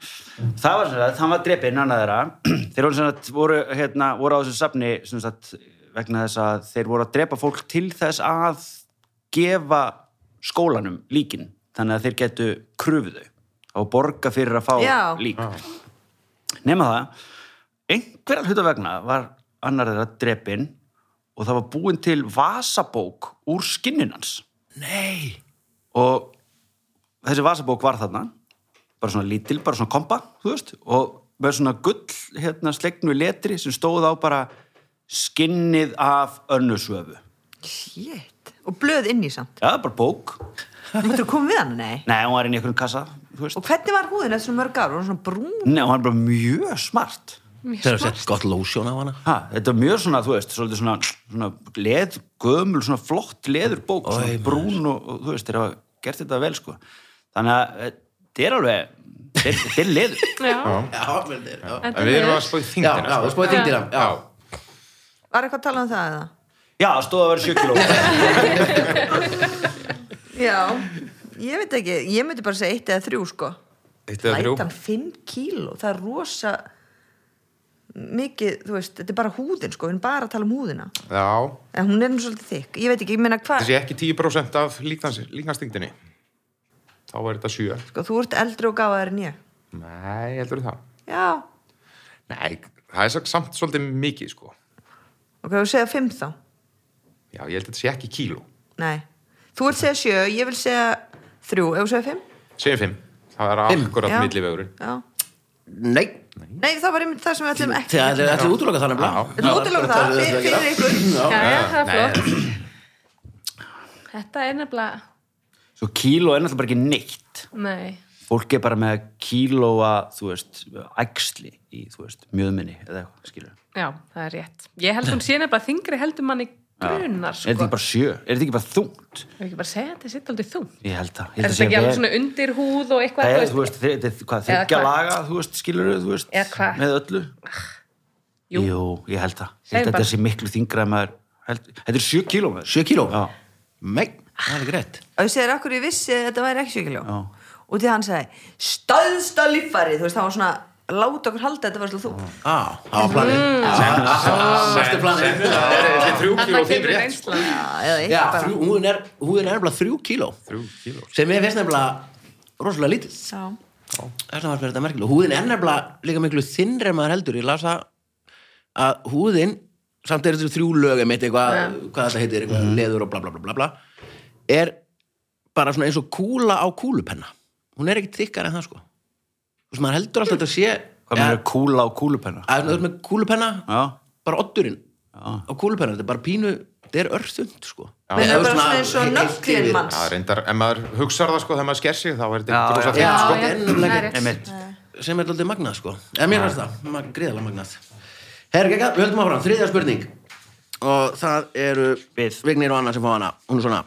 það var sem sagt, hann var drepinn annað þeirra þeir voru, sem sagt, voru, hérna, voru á þessu safni sem sagt, vegna þess að þeir voru að drepa fólk til þess að gefa skólanum líkin þannig að þeir getu krufið þau og borga fyrir að fá
Já.
lík nema það einhverja hluta vegna var annar þeirra drepinn og það var búin til vasabók úr skinninans
Nei
og þessi vasabók var þarna bara svona lítil, bara svona kompa þú veist, og með svona gull hérna slegnu letri sem stóð á bara skinnið af önnusöfu
Shit. Og blöð inn í samt.
já, bara bók,
Máttu að koma við hann? Nei.
nei, hún var inn í einhverjum kassa þú veist,
Og hvernig var húðin eftir svona mörg ár? Var hún svona brún?
nei, hún var bara mjög smart
Það er að segja gott lósjón á hana
ha, þetta er mjög svona, þú veist, svolítið svona, svona leð, gömul, svona flott leðurbók, svona brún og, og þú veist, þeir hafa gert þetta vel, sko þannig að eh, þetta er alveg þetta er- þetta er leður
Já,
Já, vel þér Já,
Þetta
En við erum
er-
að spóið
já,
þingdina,
já,
sko.
spóið þingdina Já,
Var eitthvað að tala um það eða?
já, stóð að vera 7 kíló
Já, ég veit ekki. Ég myndi bara segja eitt eða þrjú, sko.
Eitt eða þrjú.
Lætan 5 kíló. Það er rosa mikið, þú veist, þetta er bara húðin, sko. Við erum bara að tala um húðina.
Já.
En hún er nú svolítið þykk. Ég veit ekki, ég meina
Það
hvað,
sé ekki 10% af líknarstingdinni. Þá er þetta 7.
sko, þú ert eldri og gáðar en ég.
Nei, heldur það.
Já,
Nei, það er samt- samt svolítið mikið, sko.
ok, þú segja 5 þá.
Já, ég held að þetta sé ekki kíló.
Nei. Þú vilt segja 7, ég vil segja 3, ef þú segja 5.
Segjum 5. Það er
Fimm.
akkurat
Já.
millivegurinn.
Já.
nei
Nei, það var einmitt það sem við ætlum ekki.
Það er allir útloka þannig
Já.
blá
Þetta er útilogur það, fyrir, fyrir ykkur.
já, já, það er
Nei,
flott Þetta er nefnilega,
Svo kíló er náttúrulega bara ekki neitt.
nei
Fólk er bara með kílóa, þú veist, æxli í, þú veist, mjöðminni eða eitthvað, skilur.
Já, það er rétt. Ég held hún sé nefnilega þingri heldur manni grunar,
Er þetta
sko.
ekki bara sjö? Er þetta ekki bara þungt?
Ég ekki bara að segja að þetta sitt aldrei þungt.
Ég held það. Ég
Er
held
þetta ekki alveg
vel-
svona undir húð og eitthvað?
Það er,
þú
þú veist, þe- þetta er hvað,
Eða
þryggja
hvað?
laga, þú veist, skilur, þú veist,
Eða hvað? Ah,
með öllu.
Jú.
Jú, ég held það. Ég held
Segðu
að
bara.
þetta sé miklu þingra en maður, held, þetta er sjö kíló maður.
7 kíló
Já.
Nei, það er ekki rétt
og ég segir akkur ég vissi að þetta væri ekki 7 kíló
Já.
og því hann sagði stöðsta líffarið þú veist það var svona láta okkur halda að þetta var svona þú
Á, það var
Mm.
planið Mestu planið
Þetta er 3 kíló
Þarna kemur reynslan.
Ah, eða
Já,
eitthvað
þrjú- hún er hún er nefnilega 3 kíló
3 kíló.
sem ég finnst nefnilega rosalega lítið
Já.
þess að var þetta merkilega húðin er nefnilega líka miklu þinnri en maður heldur ég las það að húðin samt er þetta þrjú lög emitt eitthvað, hvað þetta heitir, eitthvað
Mhm.
leður og bla bla bla bla bla er bara svona eins og kúla á kúlupenna hún er ekki þykkar en það sko þú veist maður heldur alltaf að þetta sé
Hvað með
að
er kúla og kúlupenna?
að þú veist með kúlupenna
Já.
bara oddurinn
Já.
á kúlupenna, þetta er bara pínu þetta er örþund sko
menn
Eða
það er bara
svona
svona eins og
heilt
nöglin
yfir.
Já,
manns
reyndar, ef maður hugsar það, sko, þegar maður sker sig, þá er þetta
Já,
ekki rosa
já.
Já,
fint,
sko,
sko.
já,
en
það
nefnilega-
er rétt.
Einmitt.
sem er alltaf magnað sko eða mér finnst það, mag- gríðalega magnað herra gegga, við höldum áfram, þriðja spurning og það eru
Við.
Vignir og Anna sem fá hana hún er svona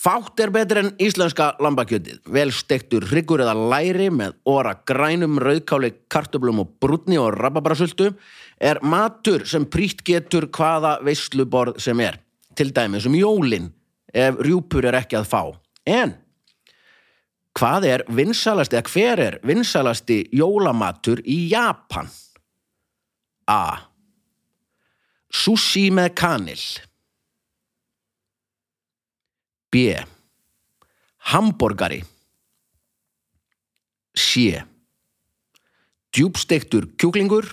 Fátt er betur en íslenska lambakjötið. Vel stektur hryggur eða læri með óra grænum, rauðkáli, kartöflum og brúnni og rababrasultu er matur sem prýtt getur hvaða veisluborð sem er. Til dæmis um jólin ef rjúpur er ekki að fá. En hvað er vinsalasti, eða hver er vinsalasti jólamatur í Japan? A. Sushi með kanil B. Hamborgari C. Djúbstektur kjúklingur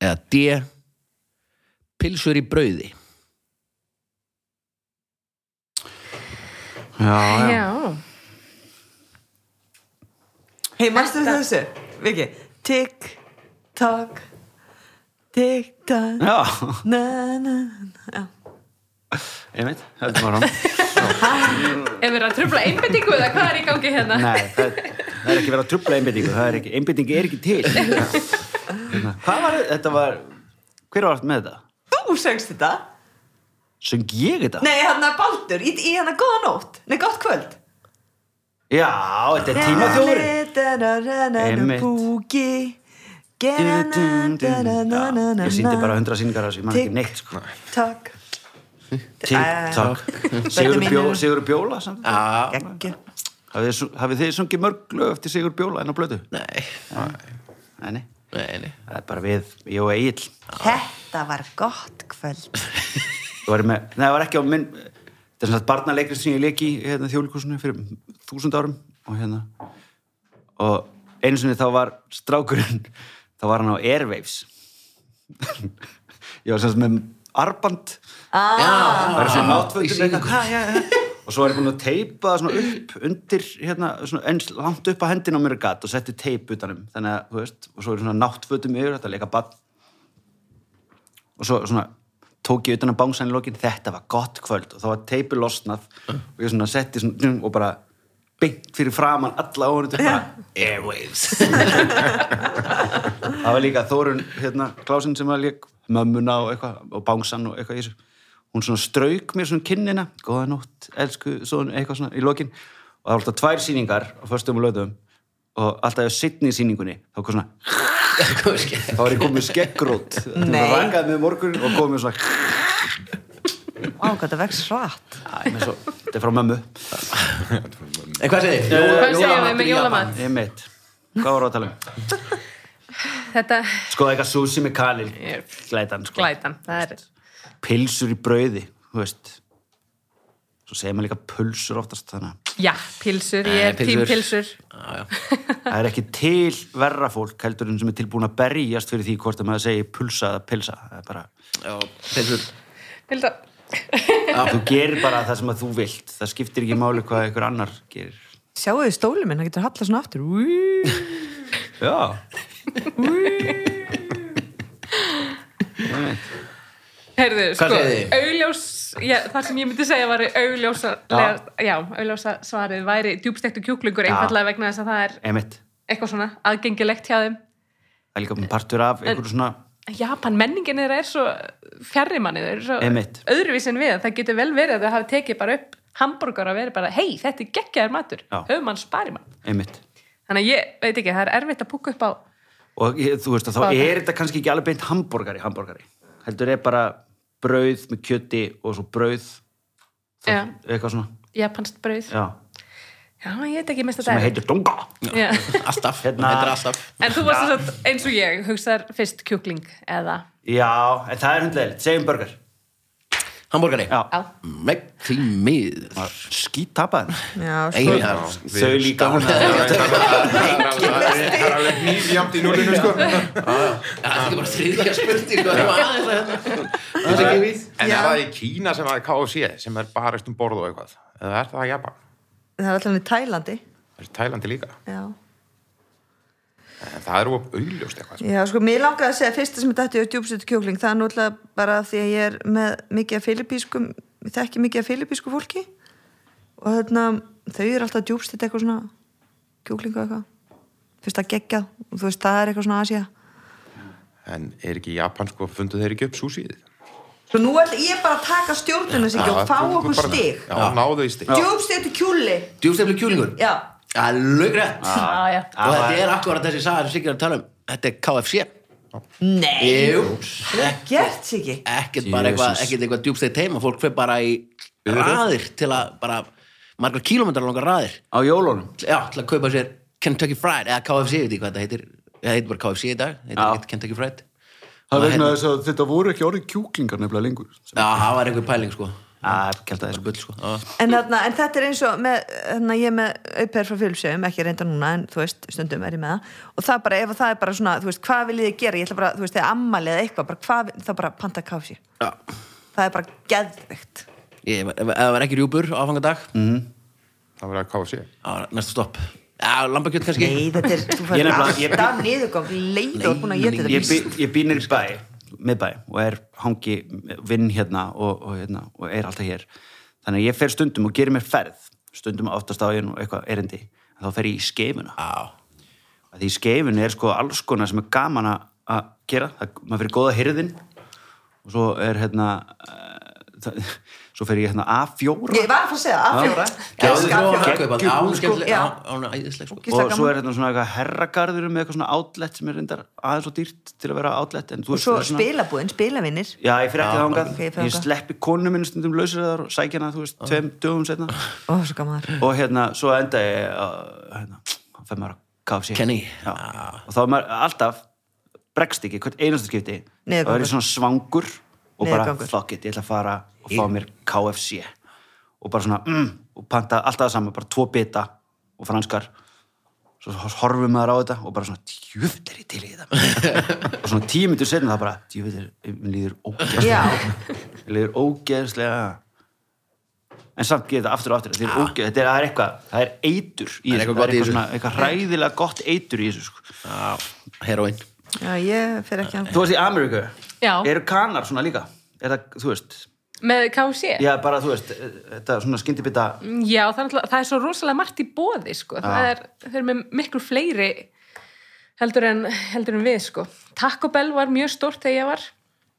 eða D. Pilsur í brauði
já, já.
Já,
Hei, mæstu þessu? Viki, tikk, takk, tikk, takk,
Já,
na, na, na.
einmitt, þetta var hann
ef við erum að tröfla einbendingu eða hvað er í gangi hérna?
Nei, það, það er ekki verið að trubla einbyttingu það er ekki, einbyttingi er ekki til Hérna, Hvað var, þetta var hver var allt með þetta?
Þú söngst þetta?
Söng ég þetta?
Nei, hann er Baldur, í, í hann er góða nótt, nei, gott kvöld.
Já, þetta er tímaþjóðurinn
Tímaþjóðurinn.
Einmitt.
Búki.
Ég síndi bara hundra síningar að þessu, ég man
Tikk.
ekki neitt sko.
Takk.
Tikk, takk Sigur,
Þetta
bjó,
mínur.
Sigur Bjóla samt.
A.
Gekk.
Hafið þið su- hafið þið sungið mörg lög eftir Sigur Bjóla en á blödu?
Nei,
Nei, nei,
nei, nei
það er bara við, ég og Egil
Þetta var gott kvöld.
Þú varum með, nei, það var ekki á minn þetta er svona barnaleikri sem ég leik í hérna, þjóðlíkursinu fyrir þúsund árum og hérna og einu sinni þá var strákurinn þá var hann á Airwaves ég var semst með arband
Já,
það er svona náttfötur og svo er ég búin að teipa það svona upp undir hérna, svona eins langt upp á hendin á mér gatt og setti teip utanum þannig að, þú veist, og svo er svona náttfötum yfir þetta er leika bann og svo svona tók ég utan að bángsan í lokin, þetta var gott kvöld og þá var teipi losnað og ég svona setti svona dum, og bara beint fyrir framann alla áhörðu bara Airwaves það var líka Þórun hérna, Klásin sem var lík mömmuna og eitthvað og bángsan og eitthvað í þessu hún svona strauk mér svona kinnina góða nótt, elsku, svona eitthvað svona í lokin og það var alltaf tvær sýningar á föstum og löðum og alltaf í sittni sýningunni þá kom svona þá var ég komið með skeggrót
Nei.
það rangaði með morgun og komið með svona
Á, hvað það vex hratt.
Æ, með svo, þetta er frá mömmu
En hvað segir þið?
Hvað segjum við með jólamat?
ég mitt, hvað var það að tala um?
Þetta
sko eitthvað sushi með kalil glætan sko,
glætan, það er
pilsur í brauði þú veist svo segir maður líka pulsur oftast þannig að
Já, pilsur,
Eh,
ég er
Nei,
tím
pilsur.
pilsur
það er ekki til verra fólk heldur en sem er tilbúin að berjast fyrir því hvort að maður segi pulsa eða pilsa það er bara,
Já, pilsur
Pilsa
þú gerir bara það sem að þú vilt það skiptir ekki máli hvað einhver annar gerir
Sjáu þið stólið minn, hann getur hallað svona aftur. Úí.
já
Herðu,
Hvað
sko,
segið þið?
augljós já, það sem ég myndi segja var augljósa
Já.
já, augljósa svarið væri djúbstektu kjúklingur einfallega vegna þess að það er
Emitt,
eitthvað svona aðgengilegt hjá þeim
það er líka partur af einhverju svona
Japan menningin þeirra er svo fjarri manni þeir eru svo
Einmitt.
öðruvísi en við það getur vel verið að þau hafi tekið bara upp hambúrgar að vera bara, hei, þetta er geggjaður matur
Já.
höfum hann spari mann
Emitt
þannig að ég veit ekki, það er erfitt að búka upp á
Og ég, þú veist að þá
Hvað?
er þetta kannski ekki alveg beint hambúrgari, hambúrgari Heldur er bara brauð með kjöti og svo brauð
já,
Eitthvað svona,
japanskt brauð já.
já
ég veit ekki mest að
Sem
það
heitir donga
Já.
Alltaf,
Hérna-
þetta er alltaf
en þú varst þess að eins og ég hugsaðar fyrst kjúkling eða
Já, en það er hundlegilegt, segjum burger
Hamborgari
Já,
á,
Meg því miður
skýt tapaðin
Já, svo.
Einar
Þau líka hún
Það er alveg- það er- það er alveg nýfjamt í núlinu sko
Það er ekki bara þriðja spurning sko, það var aðeins að hérna. Það er ekki við
En er það í Kína sem að KFC sem er bara um borð og eitthvað eða er það í Japan?
Það er allan í Tælandi.
Það er í Tælandi líka
Já.
en það er of augljóst eitthvað sko.
Já, sko, mér langaði að segja fyrsta sem þetta er djúbstötu kjúkling, það er náttúrulega bara af því að ég er með mikið af filipískum, ég þekki mikið af filipísku fólki og þarna, þau eru alltaf djúbstötu eitthvað svona kjúkling og eitthvað. Fyrst að gegja, og þú veist, það er eitthvað svona Asia.
en er ekki í Japan sko fundu þeir ekki upp súsíð
Svo nú ætla ég bara að taka stjórnuna sig og fá
þú- þú
okkur
bara-
stig
Já, náðu í stig.
Djúbstig til kjúli
Djúfstefli kjúlingur
Já,
Alveg rétt
Já, já.
Og þetta
já.
er akkurat þessi saga sem Siggi er að tala um Þetta er KFC
nei,
Jú
gert sig ekki
Ekkert bara eitthvað,
Jesus.
ekkert eitthvað djúbsteg teima Fólk fer bara í raðir til að bara margar kílómetrar langar raðir
Á jólunum.
Já, til að kaupa sér Kentucky Fried eða KFC, veit ég hvað þetta heitir Það heitir bara KFC í dag, þetta
Já.
heitir Kentucky Fried
Það
Og
er vegna
hérna-
þess að þetta voru ekki orðin kjúklingar nefnilega lengur.
Já, það var einhver pæling sko
Já, Ah, ég held að það er
Bull sko Já.
En, þarna, en þetta er eins og með, þarna, ég er með auper frá fylgsegum, ekki reynda núna en þú veist, stundum er ég með það og það bara, ef það er bara svona, þú veist, hvað vil ég gera ég ætla bara, þú veist, þegar ammali eða eitthvað bara, hvað, vil- þá bara panta kási
Já.
það er bara geðveikt
Ég, ef ef það var ekki rjúpur á aðfangadag mm.
Það verður að káfa sér.
Næsta stopp Já, lambakjöt kannski
Nei, þetta er,
Ég
þú fær
nefnilega- ég-
alltaf niðurgang leið og búin að geta þetta
Ég,
víst.
bý, ég býnir í bæ, miðbæ og er hangi, vinn hérna og, og, hérna og er alltaf hér þannig að ég fer stundum og gerir mér ferð stundum oftast á einu eitthvað erindi en þá fer ég í skeifuna
Já,
Af því í skeifunni er sko alls konar sem er gaman að- að gera það, maður fyrir góða hyrðin og svo er hérna uh, það, svo fer ég hérna A4
Ég var að fara að segja, A4
Já, þú
Elska
þarf
A4.
að kaupa Já, hún er skemmtileg
sko. Já.
Já, hún er æðisleg sko
Ógeðslega
og svo
gaman.
er hérna svona eitthvað herragarður með eitthvað svona outlet sem er reyndar aðeins og dýrt til að vera outlet en þú
Og
veist,
svo
það er svona-
spilabuðin, spilavinnir
Já, ég fyrir ekki þangað.
ok, ég
ég,
fer þangað.
sleppi konu minn stundum lausir þar og sækja hana, þú veist, tveim dögum setna.
Ó, svo gaman þar
Og hérna, svo enda ég að, hérna, hann fær maður að kafa sér.
Kenny.
Já. Og þá er maður alltaf, bregst ekki, hvert einastu skipti.
Niðurgangur.
Og er ég svona svangur og bara,
Niðurgangur.
fuck it, ég ætla að fara og fá mér KFC. Og bara svona, mm, og panta alltaf það saman, bara tvo bita og franskar. Svo horfum maður á þetta og bara svona, djöfull er ég til í þetta. og svona tíu myndir setna það bara, djöfull er, mér líður ógæst
Já,
Mér líður ógeðslega en samt gerir þetta aftur og aftur þetta er, ógeð, þetta er, það er eitthvað, það er eitur í
Það er
þessu,
eitthvað
það
gott
er
í
eitthvað,
þessu.
svona, eitthvað hræðilega gott eitur í þessu sko.
Já, heroin
já, ég fer ekki hann
Þú veist í Ameríku,
Já.
eru kanar svona líka er það, þú veist,
Með KFC?
já bara þú veist eh, þetta svona skyndibita
Já, það er, náttúrulega- það er svo rosalega margt í bóði, sko. Það er, þau eru með miklu fleiri heldur en, heldur en við, sko. Taco Bell var mjög stórt þegar ég var.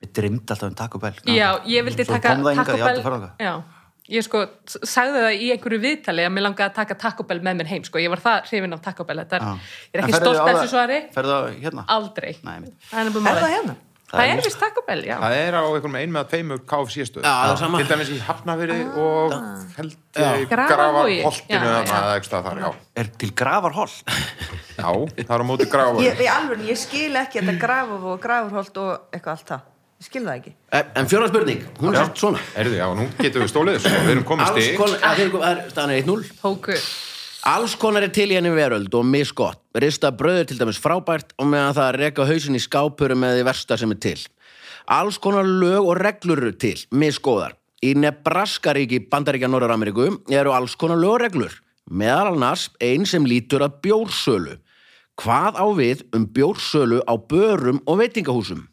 við dreymdi alltaf um Taco Bell
Já, ég vildi
Svo
taka
kom það hingað,
Taco
ég átti
Bell.
að fara þangað.
já, ég sko s- sagði það í einhverju viðtali að mér langaði að taka Taco Bell með mér heim, sko. Ég var það hrifin af Taco Bell. Þetta er, ég er ekki stolt af þessu svari.
Ferðu á hérna?
Aldrei.
Nei, mitt.
Það er,
Er
það
það hérna?
Það er vist Taco Bell, já.
Það er á einhverjum einum eða tveimur KFC stöð.
Já, það er sama.
Til dæmis í Hafnafyrði og held ég
Grafarvogi. Já,
Grafarholtinu
já.
eða eitthvað þar, já.
Er til gravarhol?
Já, það er á móti Grafarvogi.
Ég, ég, alveg, ég skil ekki þetta grafur og grafurholt og eitthvað allt það Ég skil það ekki
En Eh, en fjóra spurning, hún er sett svona
Erðu, já, nú getum við stólið þessu. Við erum komið
Alls
stig.
konar, að þeir- það er- staðan er 1-0
Tóku.
Alls konar er til í henni veröld og misgott. Rista bröður til dæmis frábært og meðan það að reka hausin í skápurum með því versta sem er til. Alls konar lög og reglur eru til, misgóðar. Í Nebraskaríki, Bandaríkja Norður-Ameríku, eru alls konar lög og reglur. Meðal annars ein sem lítur að bjórsölu. Hvað á við um bjórsölu á börum og veitingahúsum?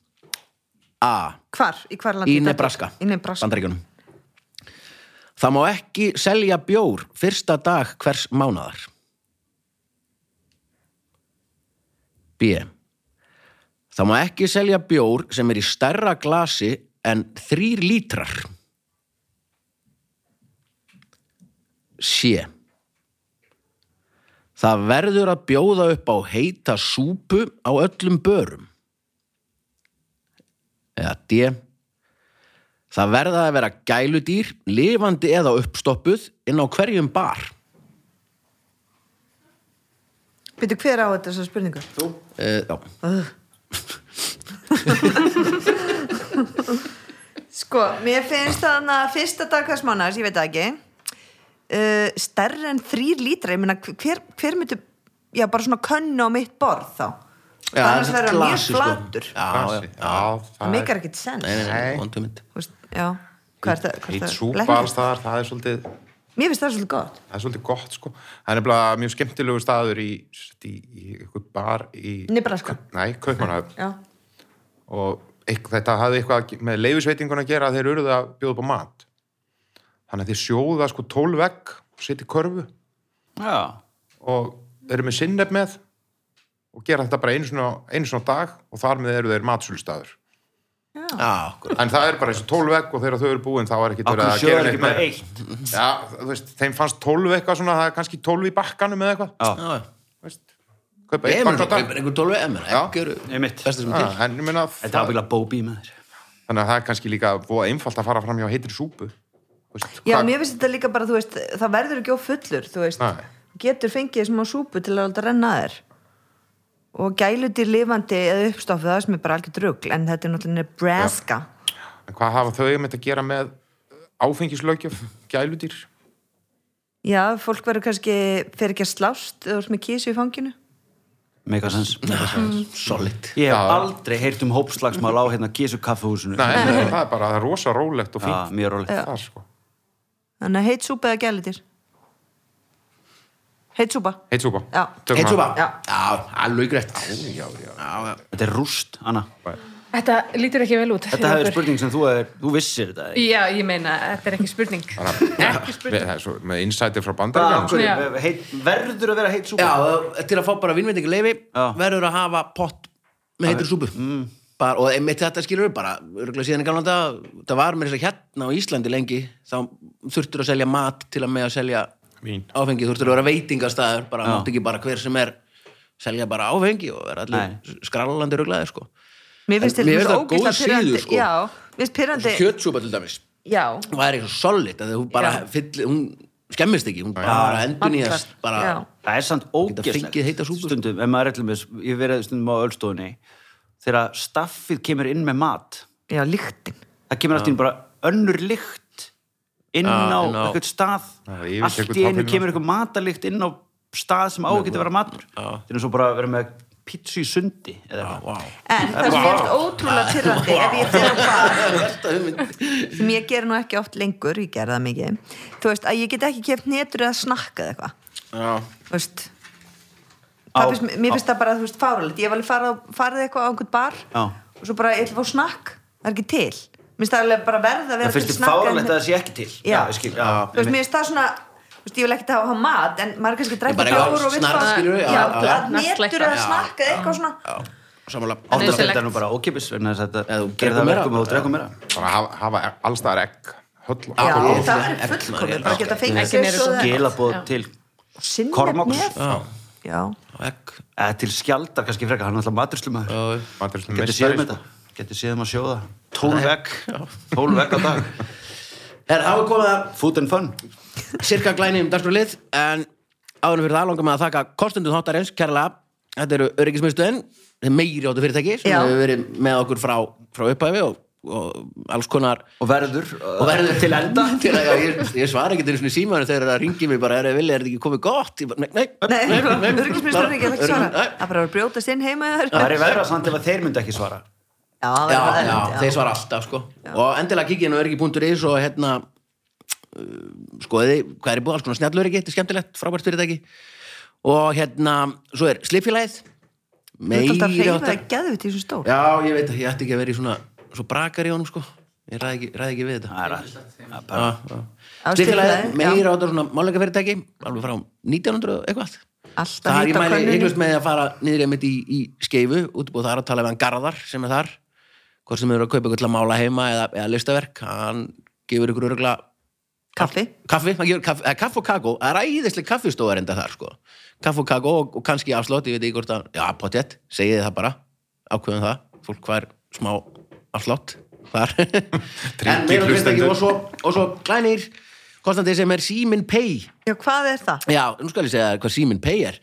A.
Hvar? Í hvar landi?
Í Nebraska,
Í Nebraska
Bandaríkjunum. Það má ekki selja bjór fyrsta dag hvers mánadar. B. Það má ekki selja bjór sem er í stærra glasi en þrýr lítrar. C. Það verður að bjóða upp á heita súpu á öllum börum. Eða D. Það verða að vera gæludýr, lifandi eða uppstoppuð inn á hverjum bar.
Býtu hver á þetta þessar spurningar?
Uh, já,
Sko, mér finnst þarna fyrsta dag hvers mánas, ég veit það ekki uh, Stærri en þrýr lítra, ég meina hver, hver myndi Já, bara svona könnu á mitt borð þá
Já,
Það annars
það er
verður hann mjög
glasi, sko.
flatur
já, já.
Grasi. Já,
Það
það er
meikar ekkert sens
Nei, nei, nei,
Nei.
vondum mynd.
Þú veist, Já, hvað er það? hvað er
heit
það-
súpa
lekkert?
alls þar, það er svolítið...
Mér finnst það svolítið gott
Það er svolítið gott sko. Það er nefnilega mjög skemmtilegu staður í, í, í eitthvað bar í...
Nebraska
Nei, Kaupmannhöfn.
sko. Já,
og eitth- þetta hafði eitthvað að- með leifisveitingun að gera að þeir urðu að bjóða upp á mat þannig að þeir sjóða sko tól vekk og setja í körfu
Já.
og eru með sinnef með og gera þetta bara einu svona, einu svona dag og þar með eru þeir matsölustafur
Já, akkurat.
En það er bara eins og 12 vekk og þegar þau eru búin þá er ekki
Akkur sjóður ekki bara eitt
Já, þú veist, þeim fannst 12 eitthvað svona, það er kannski 12 í bakkanum eða eitthvað.
Já,
Já,
já.
Þú veist, kaupa eitt
Emir,
bakka á dag.
kaupir einhver 12 emir,
Já.
ekki eru
ég mitt
besta sem
Já,
er til.
En ég meina,
Þetta var bíla bóbi með þér
þannig að það er kannski líka búið einfalt að fara fram hjá heitri súpu. Þú Veist,
Já,
hvað-
mér finnst þetta líka bara, þú veist, það verður ekki ófullur, þú veist,
Nei.
getur fengið smá súpu til að alltaf renna að þér og gælutir lifandi eða uppstofið það sem er bara algjör drugl en þetta er náttúrulega Nebraska
En hvað hafa þau einmitt að gera með áfengislaugjöf, gæludýr?
Já, fólk verður kannski fer ekki að slást eða þú veist með kísu í fanginu
Megasens
Solid.
Ég hef
Já.
aldrei heyrt um hópslagsmál á hérna Kísu kaffehúsinu
Nei, nei, það er bara, það er rosa rólegt
Ah.
og
Já,
fínt
mjög rólegt
þar, sko.
Þannig að heit súpa eða gælutir Heit súpa
Heit súpa.
Já.
Tökum
Eitt súpa?
hana.
Já.
Já, alveg greitt. Já, já, já.
Þetta er rúst, Anna
Þetta lítur ekki vel út fyrir
Þetta hefur
okkur.
spurning sem þú, er, þú vissir þetta ekki?
Já, ég meina, þetta er ekki spurning Ekki
Við-
spurning
það er Svo, með insightir frá sko.
Hvað,
bandaríkjum.
af hverju?
Já.
Heit- Verður að vera heitt súpa
Já, eh, til að fá bara vinnvendingu leifi
Já. Mm.
verður að hafa pott með heitur súpu bara, og einmitt þetta skilur við bara örgulega síðan í gamla dag, það var mér þess að hérna á Íslandi lengi, þá þurftur að selja mat til að með að selja
Vín.
áfengi, þurftur að vera veitingastæður bara
Já.
mátt ekki bara hver sem er selja bara áfengi og vera
Nei.
allir skrallandi ruglaði sko
Mér finnst
En
þetta
mér
svo
finnst það góð
ógeðslega
síður,
pirrandi-
sko.
Já, mér finnst pyrrandi
kjötsúpa til dæmis
Já,
væri svo solid að þú bara
Já.
fyll, hún skemmist ekki, hún bara endur nýjast
Vandar,
bara,
já.
Það er samt
fengið heita
ógeslegt
súpu.
stundum, ef maður er til með, ég hef verið stundum á öllstofunni, þegar staffið kemur inn með mat,
já, líktin
það kemur allt í einu bara önnur lykt inn
Já,
á
inn á-
eitthvað stað,
Já, það yfirtekur
allt í einu
táfýluna.
kemur eitthvað matalikt inn á stað sem á að geta að vera matur. Þetta er svo bara að vera með pítsu í sundi, eða eitthvað.
wow.
En það sem ég finnst ótrúlega pyrrandi ef ég fer á bar
Besta hugmynd.
sem ég ger nú ekki oft lengur, ég ger það mikið þú veist, að ég get ekki keft netur eða snakkað eitthvað,
Já.
þú veist
Á-
Það finnst, mér finnst það bara, þú veist, fáralegt ég hef alveg farið, á- farið eitthvað á einhvern bar
Já.
og svo bara, ég ætla að fá snakk það er ekki til, mér finnst það alveg bara verð að
Það
vera
finnst
til
þið
snakka en-
fáralegt að það sé ekki til.
Já.
ég skil, já.
þú veist, mér finnst það svona þú veist, ég vil ekkert hafa hafa mat, en maður er kannski að
Bara
drekka
já,
bjór og vill
snarf,
fá-
skilurðu, já,
já,
já, já.
að netur eða
Snarfleikta.
snakkað eitthvað svona
Sammála.
Átt að
Nauðsynlegt.
þetta er nú bara ókipis, vegna þess
Eða
að þetta
þú
gerir
drekkur
það
meira.
verkum og þú drekum meira.
Bara hafa, hafa allstaðar egg, höll og
já,
alkohol.
það er
Efna,
fullkomið,
já.
bara geta fengið
Eggin eru
svo-
svo-
Gilabóð
Já.
til,
sinnið
Kormáks.
með já
Egg.
eða til skjaldar kannski frekar, hann er alltaf maturslumar.
Maður er svona
Getur
meistari,
séð um
sko.
þetta, getur séð um að sjóða 12 vegg, 12 vegg á dag
Herra, hafa komið að
Food and fun
cirka glæni um dagskrálið en áður en fyrir það langar maður að þakka kostundum þáttarins kærlega. Þetta eru öryggismiðstöðin, þetta er meiri áttu fyrirtæki sem
Já.
hefur verið með okkur frá, frá upphæfi og, og alls konar
og verður,
og verður uh,
til enda
til að, já, ég, ég svara ekki til svona símaður þegar það ringi mig bara, er það vilja, er þetta ekki komið gott? Ég bara, Nei, nei,
Nei, öryggisministrarinn ekki ekki svara
Nei.
Það bara var að brjótast inn heima hjá þér.
það er í verða samt ef að þeir myndi ekki svara
Já, það
já,
var
já,
erfitt,
þeir svara alltaf sko. og endilega kikið inn á öryggi.is og hérna uh, skoðiði hvað er í búið, alls konar snjallöryggi, þetta er skemmtilegt frábært fyrirtæki og hérna, svo er slipfélagið
Þú ert alltaf að
meiri
reyfa
áttar-
það geðvitt í þessum stór
já, ég veit að ég ætti ekki að vera í svona svo brakar í honum sko ég ræði ekki, ræð ekki við þetta
það er að, að bara,
Já, já.
Á
slipfélagið,
Slippfélagið, já.
meiri áttar svona máleika fyrirtæki alveg frá 1900 og eitthvað
Alltaf
það er ég
hýta
mæli
könnunum
hygglust með því að fara niður einmitt í, í skeifu útbúð þar að tala við hann Garðar sem er þar hvort sem eru að kaupa ykkur til að mála heima eða, eða listaverk, hann gefur ykkur örgla
Kaffi
kaffi, hann gefur kaffi, eða kaff og kakó það er æðislega kaffistóðar enda þar sko kaff og kakó og, og kannski afslótt, ég veit ekki hvort að já, potjett, segið þið það bara ákveðum það, fólk hvar smá afslótt þar en meira og ekki og svo, og svo glænir kostandi sem er Simin Pay
Já, hvað er það?
Já, nú skal ég segja þér hvað síminn pay er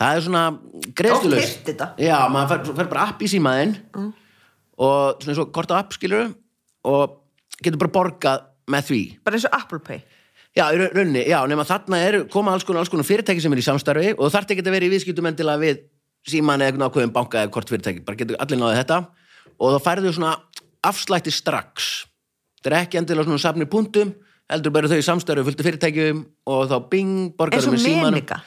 Það er svona greiðslulegs
Oft heyrt þetta.
Já, maður fer, svo fer bara app í símaðinn og svona eins og kort á app skilur og getur bara borgað með því
Bara eins og Apple Pay
Já, í ra- rauninni, já, nema þarna er koma alls konar, alls konar fyrirtæki sem er í samstarfi og þarf ekki að vera í viðskiptum endilega við síman eða eitthvað ákveðum banka eða kort fyrirtæki bara getur allir náðið þetta og þá færðu svona afslætti strax þetta er ekki endilega svona safnir punktum heldur bara þau í samstarfi fulltu fyrirtækjum og þá bing,
Eins
borgarum
og
með símanum
meninga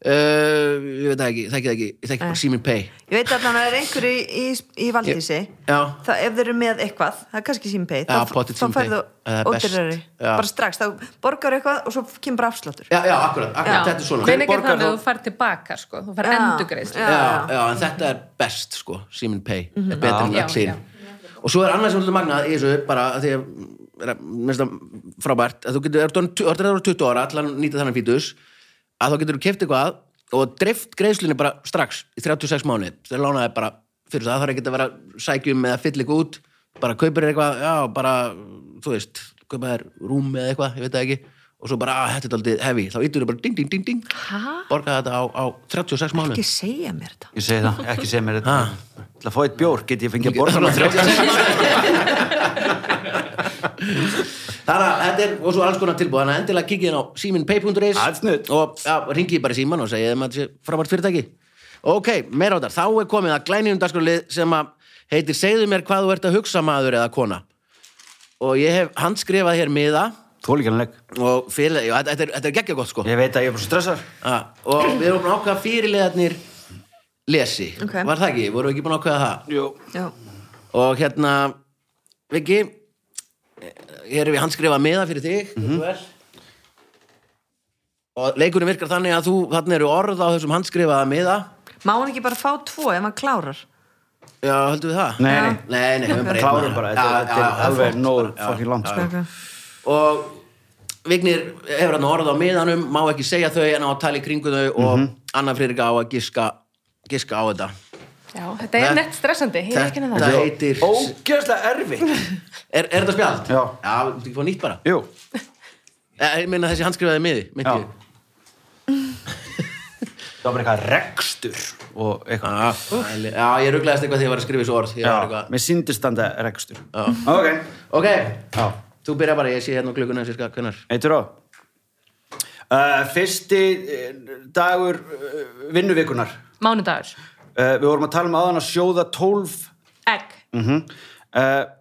Uh, ég veit það ekki, þekki það ekki, ég þekki bara Simin Pay
Ég veit að það er einhverju í, í, í valdísi
Já.
Þá ef þeir eru með eitthvað Það er kannski símpay
Já, pottet
Þá
Sím Pay.
færðu
Það er best.
ódýrari
Já.
Bara strax, þá borgar eitthvað og svo kemur bara afsláttur
Já, já, akkurat, akkurat, þetta er svona
Meina ekki
borgar
þannig
þá?
að þú fær tilbaka, sko Þú fær
Já.
endugreist
já, já, en þetta er best, sko, Simin Pay er betur en
Já,
öll hinn
já.
og svo er annað sem er svolítið magnað í þessu bara að því að er að- mér finnst það frábært að þú getur, ef þú ert orðinn tu- ert orðinn 20 ára allan nýta þannig fítus að þá getur þú keft eitthvað og dreift greiðslunni bara strax í 36 mánuði þegar lánaði bara fyrir það, það þarf ekki að vera sækjum eða fyll eitthvað út bara kaupir þér eitthvað, já bara þú veist, kaupa þér rúm eða eitthvað ég veit það ekki, og svo bara, að þetta er aldrei hefi, þá yttur þau bara ding, ding, ding, ding
Ha?
borga þetta á, á 36 mánuði
ekki segja mér þetta
Ég segi það, ekki segja mér þetta. Til að fá eitt bjór, get ég fengið að borga hana
36 mánuði Þannig að þetta er, og svo alls konar tilbúð, þannig að endilega kikið inn á síminpay.is
Það er snudd.
Og já, ringið bara í síman og segið þeim að þetta sé frábært fyrirtæki. Ok, meira á þar, þá er komið að glænýjum dagskrálið sem að heitir Segðu mér hvað þú ert að hugsa maður eða kona. Og ég hef handskrifað hér miða
Þólíkanleik.
og fyrir, já, þetta er, þetta er geggja gott sko.
Ég veit að ég er bara svo stressar.
Ah, og við erum búin að ákveða fyrirliðarnir lesi.
Ok.
Var það ekki? Vorum við ekki búin að ákveða það?
Jú.
já,
og hérna Viki hér er við handskrifað miða fyrir þig mm og leikunum virkar þannig að þú þannig eru orð á þessum handskrifaða miða
má hann ekki bara fá tvo ef hann klárar
já, höldum við það?
Nei,
Já.
nei.
nei, nei höfum bara
Klárum bara, þetta
Já,
er- þetta
já,
er
já,
alveg
flott.
nóg
Já,
fucking langt. sko.
okay.
og Vignir hefur hann orð á miðanum má ekki segja þau en á að tala í kringu þau og
Mhm.
Anna Friðrika á að giska giska á þetta
Já, þetta
Nei.
er nett stressandi, ég er ekki henni
Þetta
það.
heitir
Ógeðslega erfitt.
er, er þetta spjald?
Já.
já, þú ert ekki fá nýtt bara
Jú.
Eh, ég meina þessi handskrifaði miði
Já.
myndi ég
Það var bara eitthvað rekstur og eitthvað.
Já, æli- já, ég rugglaðist eitthvað þegar ég var að skrifa þessu orð Ég var
Ah. Já,
eitthvað-
mér síndist standa rekstur. Já. Ok.
Ok,
Já.
þú byrja bara, ég sé hérna á klukkuna sérska, hvernar
Eitur á. Uh, fyrsti eh, dagur uh, vinnuvikunar.
Mánudagur.
Uh, við vorum að tala um aðan að sjóða 12
Egg.
mm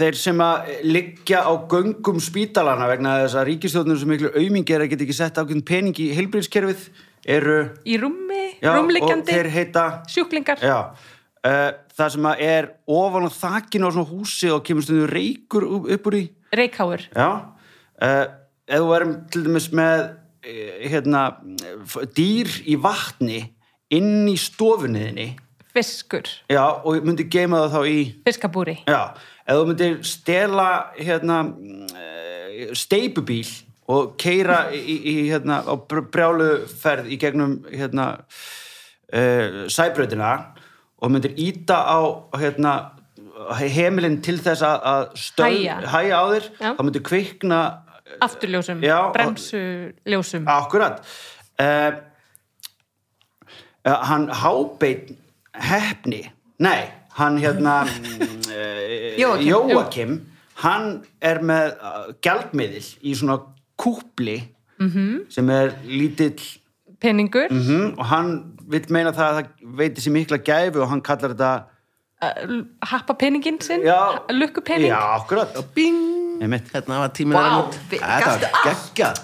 þeir sem að liggja á göngum spítalana vegna þess að ríkistjóðnum sem miklu aumingi er að geta ekki sett ákveðin pening í heilbríðskerfið eru
Í rúmi,
já, og
rúmliggjandi,
þeir heita
sjúklingar.
já, uh, það sem að er ofan á þakinu á svona húsi og kemur stundum reykur upp, upp úr í
Reykháur.
já uh, ef þú erum til dæmis með eh, hérna f- dýr í vatni inn í stofunniðinni
Fiskur.
já, og myndi geima það þá í
Fiskabúri.
Já, ef þú myndir stela hérna, eh, steipubíl og keira í, í, hérna, á br- brjáluferð í gegnum hérna, uh, sæbrautina og myndir íta á hérna, heimilinn til þess að, að stöð,
Hægja.
hæja á þér
Já.
þá myndir kvikna
Afturljósum.
Já, og-
Bremsuljósum.
akkurat uh, hann hábeit hefni nei, hann hérna eh,
Jóakim.
Jóakim hann er með eh, gjaldmiðil í svona kúpli -hmm. sem er lítill
Peningur.
mm og hann vill meina það að það veiti sér mikla gæfu og hann kallar þetta
Uh, Happa peningin sinn.
Já.
Lukkupening.
já, akkurat
Bing,
Einmitt.
hérna var tíminn
Vá,
að renna út.
við-
Þetta
gastu
var geggjað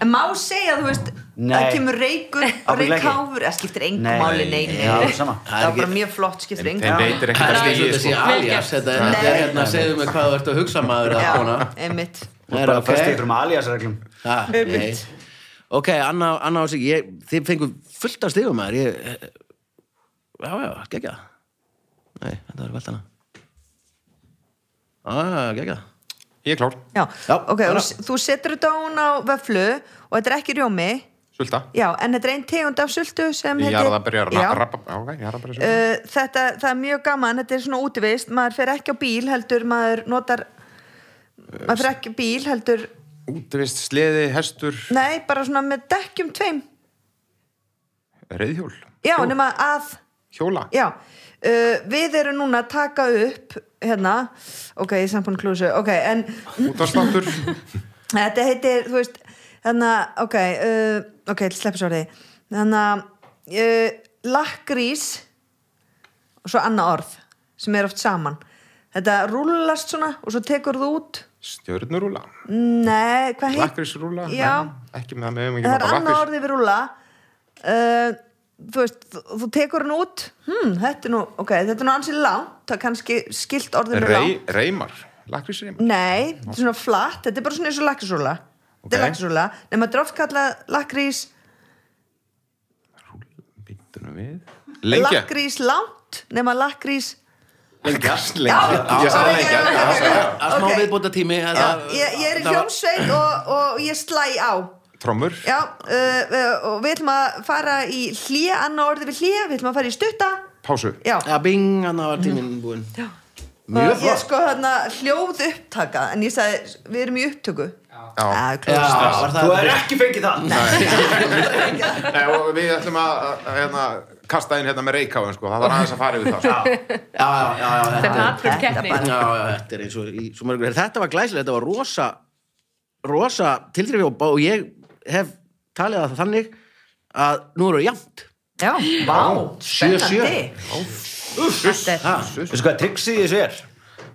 en má segja þú veist
Nei.
það kemur reykur og
Ábyggilega ekki.
reykháfur það skiptir engum
Nei.
máli nei, nei.
Já, alveg sama.
það er bara
ekki-
mjög flott skiptir
Þeim
engum máli
veitir
Það
ekkert
er
að
ekki
stigi,
þetta sé
sko.
alias, þetta er- þetta er
Nei.
hérna segðu mig hvað þú ert að hugsa maður eða kona
já, einmitt
og bara fyrst ykkur um aliasreglum
Ha, nei. Ok, Anna, Anna og sig, ég, þið fengu fullt af stigum maður, ég, eh, já, já, geggja. Nei, þetta var Ah, velt hana. Já, já, já, geggja.
Ég er klár,
já,
Já,
ok,
bara-
og s- þú setur þetta hún á vöflu og þetta er ekki rjómi
sulta
já, en þetta er einn tegund af sultu sem
Ég er að byrja að
Já.
rappa Ok, ég er að byrja að sulta
Uh, þetta, það er mjög gaman, þetta er svona útivist maður fer ekki á bíl heldur maður notar maður fer ekki á bíl heldur
Útivist, sleði, hestur,
nei, bara svona með dekkjum tveim
reyðhjól
já, nema að
Hjóla
já, uh, við erum núna að taka upp hérna, ok, ég er samt búin að klúsu ok, en
Útvarsláttur
þetta heitir, þú veist hérna, ok uh, ok, sleppu svo orðið hérna, uh, lakkrís og svo annað orð sem er oft saman þetta rúllast svona og svo tekur þú út
Stjörnurúla
Nei, hvað heit?
Lakrísrúla
Já,
Nei, Ekki með það með
en
um ekki
það
með
er annað
lakrís
orðið við rúla uh, Þú veist, þú, þú tekur hann út hmm, Þetta er nú, ok, þetta er nú ansið langt Það er kannski skilt orðið með
Rey,
langt
Reymar, lakrísreymar
Nei, þetta er svona flatt, þetta er bara svona eins og lakrísrúla Þetta er
Ok.
lakrísrúla, nema þetta er oft kallað lakrís
Býttunum við Lengja,
Lakrís langt, nema lakrís
lengjast, lengjast.
Ég sagði lengja, það sagði ég.
að smá
Ok.
viðbóta tími
Ég, ég er í hljómsveit og, og ég slæ á
Trommur.
Já, uh, uh, og við ætlum að fara í hlje, annað orðið við hlje, við ætlum að fara í stutta
Pásu.
Já,
Já, bing, hann var tíminn búinn
og
Mjög
ég
flott
sko þarna hljóð upptaka, en ég sagði, við erum í upptöku Já,
Já.
klór
Já, var
Þú
það
er ekki fengið það
Nei, og við ætlum að, að, að hérna, kasta inn hérna með reikháðum, sko. Það var aðeins að fara yfir það, sko.
Já, já, já, já,
Þetta er hatrum
Þetta
keppni.
bara-
Já, já, þetta er eins og í svo mörgur Þetta var glæsilega, þetta var rosa rosa tilþrifi og, og ég hef talið að það þannig að nú eru jafnt
Já,
Vá
Sjö, sjö.
spennandi. Þetta er-
Veistu hvað tryggsið þessu er?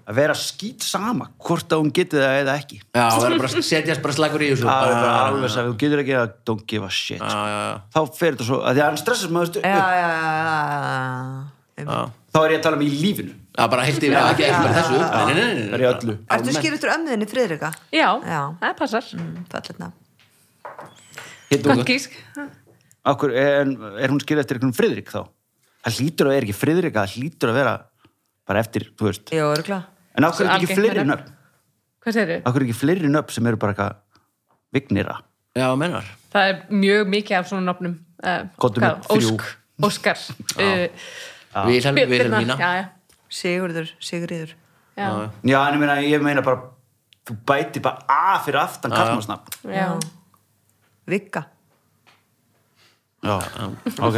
Að vera skýt sama hvort að hún getið það eða ekki
Já, það er bara að setjast bara slagur í þessu
Það er bara
Já,
alveg að þú getur ekki að don't give a shit
já,
sko.
já,
Þá fer þetta svo, að því að hann stressast maður stu
Já, já, já, já, já
já.
Þá er ég að tala um í lífinu
Já, bara heilt yfir, ekki ekki bara þessu Nei, nei, nei, nei,
Það er í öllu
Ertu skýr út úr ömmuðinni Friðrika?
Já,
Já.
það passar.
Falletna
Gott
Hittum
gísk.
Akkur, en er hún skilja eftir einhvern Friðrik þá? Það hlýtur að vera ekki Friðrik það hlýtur að vera bara eftir, þú veist
Jó, örgla
En akkur er
Algengt
ekki fleiri
meira.
nöfn?
Hvað segirðu?
Akkur er ekki fleiri nöfn sem eru bara eitthvað vignira?
Já, mennar
Það er mjög mikið af svona nafnum. Uh,
Komdu með þrjú.
Ósk, Óskar. Uh,
Vilhelm, Vilhelm
Birna,
mína
Já, já.
Sigurður, Sigurður
Já,
Já, en ég meina, ég meina bara þú bætir bara A fyrir aftan kallmannsnafn
já.
Vigga
Já, Ah. ok,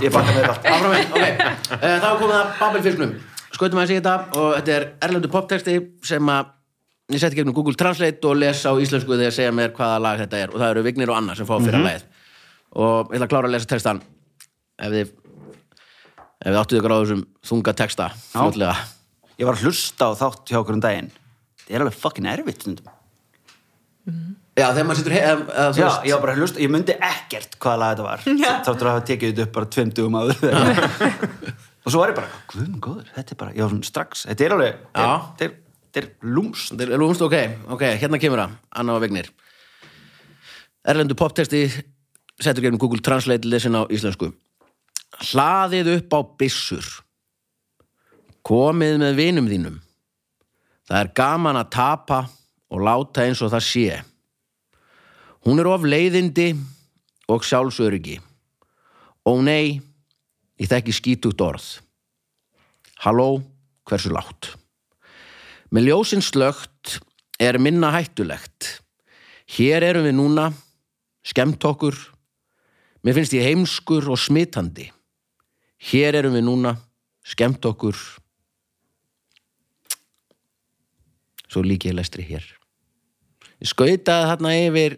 ég baka með þetta
Áfram við, ok. Eh, Þá er komið að Babelfisknum. Skautum aðeins í þetta og þetta er erlendu poptexti sem að ég setti gegnum Google Translate og les á íslensku þegar segja mér hvaða lag þetta er og það eru Vignir og Anna sem fá fyrir lagið. Og ég ætla að klára að lesa textan ef þið, ef þið áttuð ykkur á þessum þunga texta fljótlega.
Ég var að hlusta á þátt hjá okkur um daginn Það er alveg fucking erfitt stundum.
Já, þegar maður situr hef, eða þú
Já,
veist,
ég var bara að hlusta, ég myndi ekkert hvaða lag þetta var Þáttur að hafa tekið þetta upp bara tveim dugum áður Og svo var ég bara, guð minn góður, þetta er bara, ég var svona strax Þetta er alveg,
Já.
þetta er- þetta er lúmst
Þetta er lúmst, ok, ok, hérna kemur það, Anna og Vignir. Erlendu poptesti setur gegnum Google Translate lesin á íslensku. Hlaðið upp á byssur. Komið með vinum þínum. Það er gaman að tapa og láta eins og það sé. Hún er of leiðindi og sjálfsöryggi. Ó nei, ég þekki skítugt orð. Halló, hversu látt? Með ljósin slögt er minna hættulegt. Hér erum við núna, skemmt okkur. Mér finnst ég heimskur og smitandi. Hér erum við núna, skemmt okkur. Svo líki ég lestri hér. Ég skautaði þarna yfir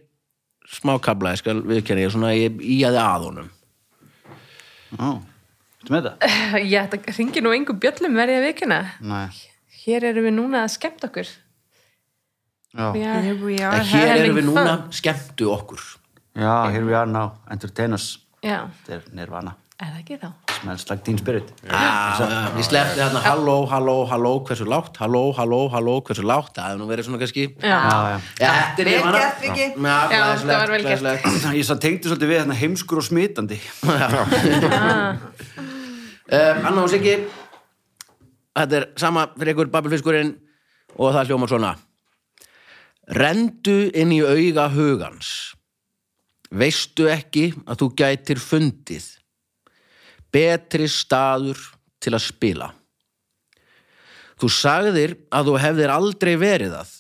smákabla, ég skal viðkenni, ég svona ég íjaði að honum.
Já, veitum með þetta?
Já, þetta ringir nú engum bjöllum verið að vikuna.
Nei
Hér erum við núna að skemmt okkur.
Já,
Já,
Here we are
En hér
having
erum við núna,
fun.
skemmtu okkur.
já here we are now, entertain us
já.
Þetta er nirvana,
Er það ekki þá?
smells like teen spirit
Já, já, ég sleppti þarna halló, halló, halló, hversu lágt halló, halló, halló, hversu lágt það hefði nú verið svona kannski já,
Já.
Já, já
þetta er
Vel
ég manna
gert, Viki.
Já, þetta var vel gert.
Ég svo tengdi svolítið við hérna heimskur og smitandi
Anna og Siggi þetta er sama fyrir ykkur babelfiskurinn og það hljómar svona rendu inn í auga hugans veistu ekki að þú gætir fundið betri staður til að spila Þú sagðir að þú hefðir aldrei verið að,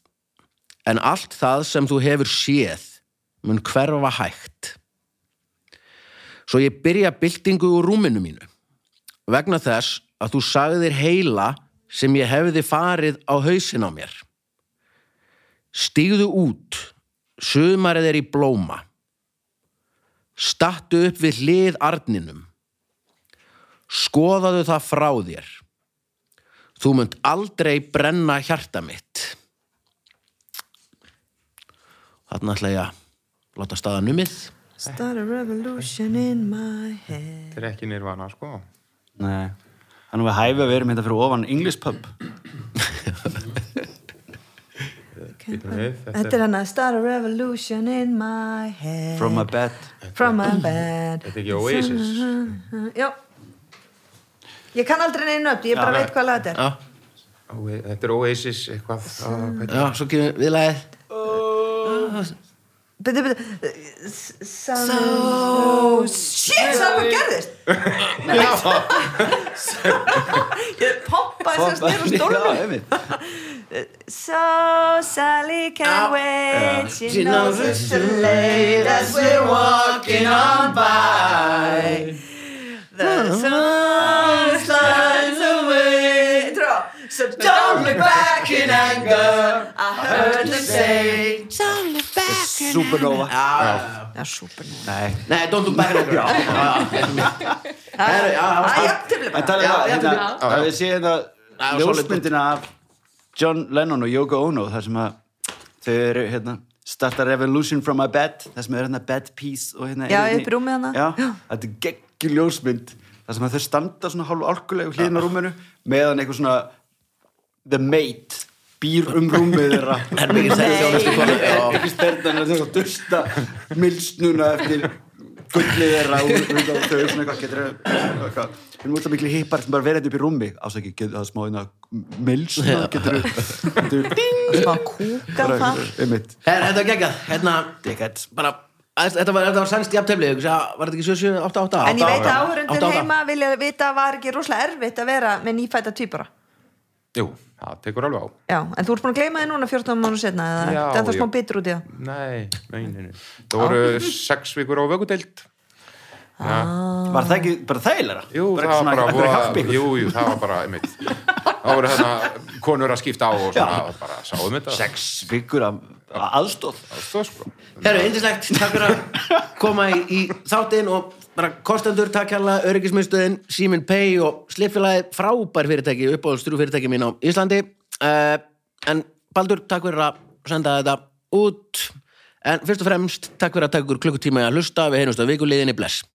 en allt það sem þú hefur séð mun hverfa hægt. Svo ég byrja byltingu úr rúminu mínu, vegna þess að þú sagðir heila sem ég hefði farið á hausin á mér. Stígðu út, sumarið er í blóma. Stattu upp við hlið arninum. Skoðaðu það frá þér. Þú munt aldrei brenna hjarta mitt. Þarna ætla ég að láta staða numið.
Start a revolution in my head
Þetta er ekki nirvana, sko.
Nei Þannig við hæfi að við erum hérna fyrir ofan English pub
Býtum við.
Þetta er hann að start a revolution in my head
From my bed
From my bed
Þetta er ekki Oasis.
Já Ég kann aldrei neina upp, ég bara
Já.
veit hvað lag þetta er
Já.
Óe- Þetta er Oasis eitthvað. Ah, að- hvernig-
Já, svo kemur við lagið
Byrðu, byrðu So Shit, það hvað gerðist Ég poppaði þess að styrra stólunum So Sally can wait Ah, She knows it's too late As we're walking on by Oh. The sun slides away Tró So don't look back in anger I heard them say Don't look back in
Supernova
Já, súpernova
Nei,
Nei, don't do back record Já, já, já
Æ, jafntefli
en
bara
talið það hérna,
Já, já.
að við séum
Já,
það ljósmyndina af John Lennon og Yoko Ono þar sem að þau eru hérna starta revolution from a bed þar sem er hérna bed piece og hérna
Já,
eru hérna í-
upp í rúmi þarna.
já, þetta er geggjur ljósmynd þar sem að þau standa svona hálf álkulega hliðin á rúminu meðan eitthvað svona the mate býr um rúmið þeirra
Herbyggir segði sér á næstu konu Já,
ekki stertan að þau að dusta milsnuna eftir gullið þeirra úr út af þau svona eitthvað getur eitthvað við erum alltaf miklu hippar sem bara verið upp í rúmi ásækki, getur það smá inn að milsna getur þau
Smá kúka það
einmitt
Her, þetta var geggjað Hérna,
Dickheads.
bara aðeins- Þetta var, þetta var sænst jafntefli ég hugsa, Var þetta ekki 7, 8, 8?
En ég veit að
Átta,
áhörundir
átta.
heima vilja vita að var ekki rosalega erfitt að vera með nýfæta týpura
Jú, það tekur alveg á.
Já, en þú ert búin að gleyma þið núna 14 mánu setna eða
Já,
það er það
já.
smá bitur út í það
Nei, nei, nei. nei. Það voru sex vikur á vöggudeild. Já,
var það ekki bara þægilega?
jú,
bara
það
ekki
var bara,
svona
voða,
eitthvað
jú, jú, það var bara, einmitt. Það voru hérna konur að skipta á og svona, bara sáum þetta.
sex vikur af af aðstóð
Stóð sko.
Herru, indislegt, takk fyrir að koma í, í þáttinn og bara kostendur, takk hérlega, öryggismiðstöðin, Simin Pay og Sliffélagi, frábær fyrirtæki, uppáðalstrú fyrirtæki mín á Íslandi. Uh, en Baldur, takk fyrir að senda þetta út. En fyrst og fremst, takk fyrir að taka ykkur klukkutíma í að hlusta, við heyrjumst á vikuliðinni, bless.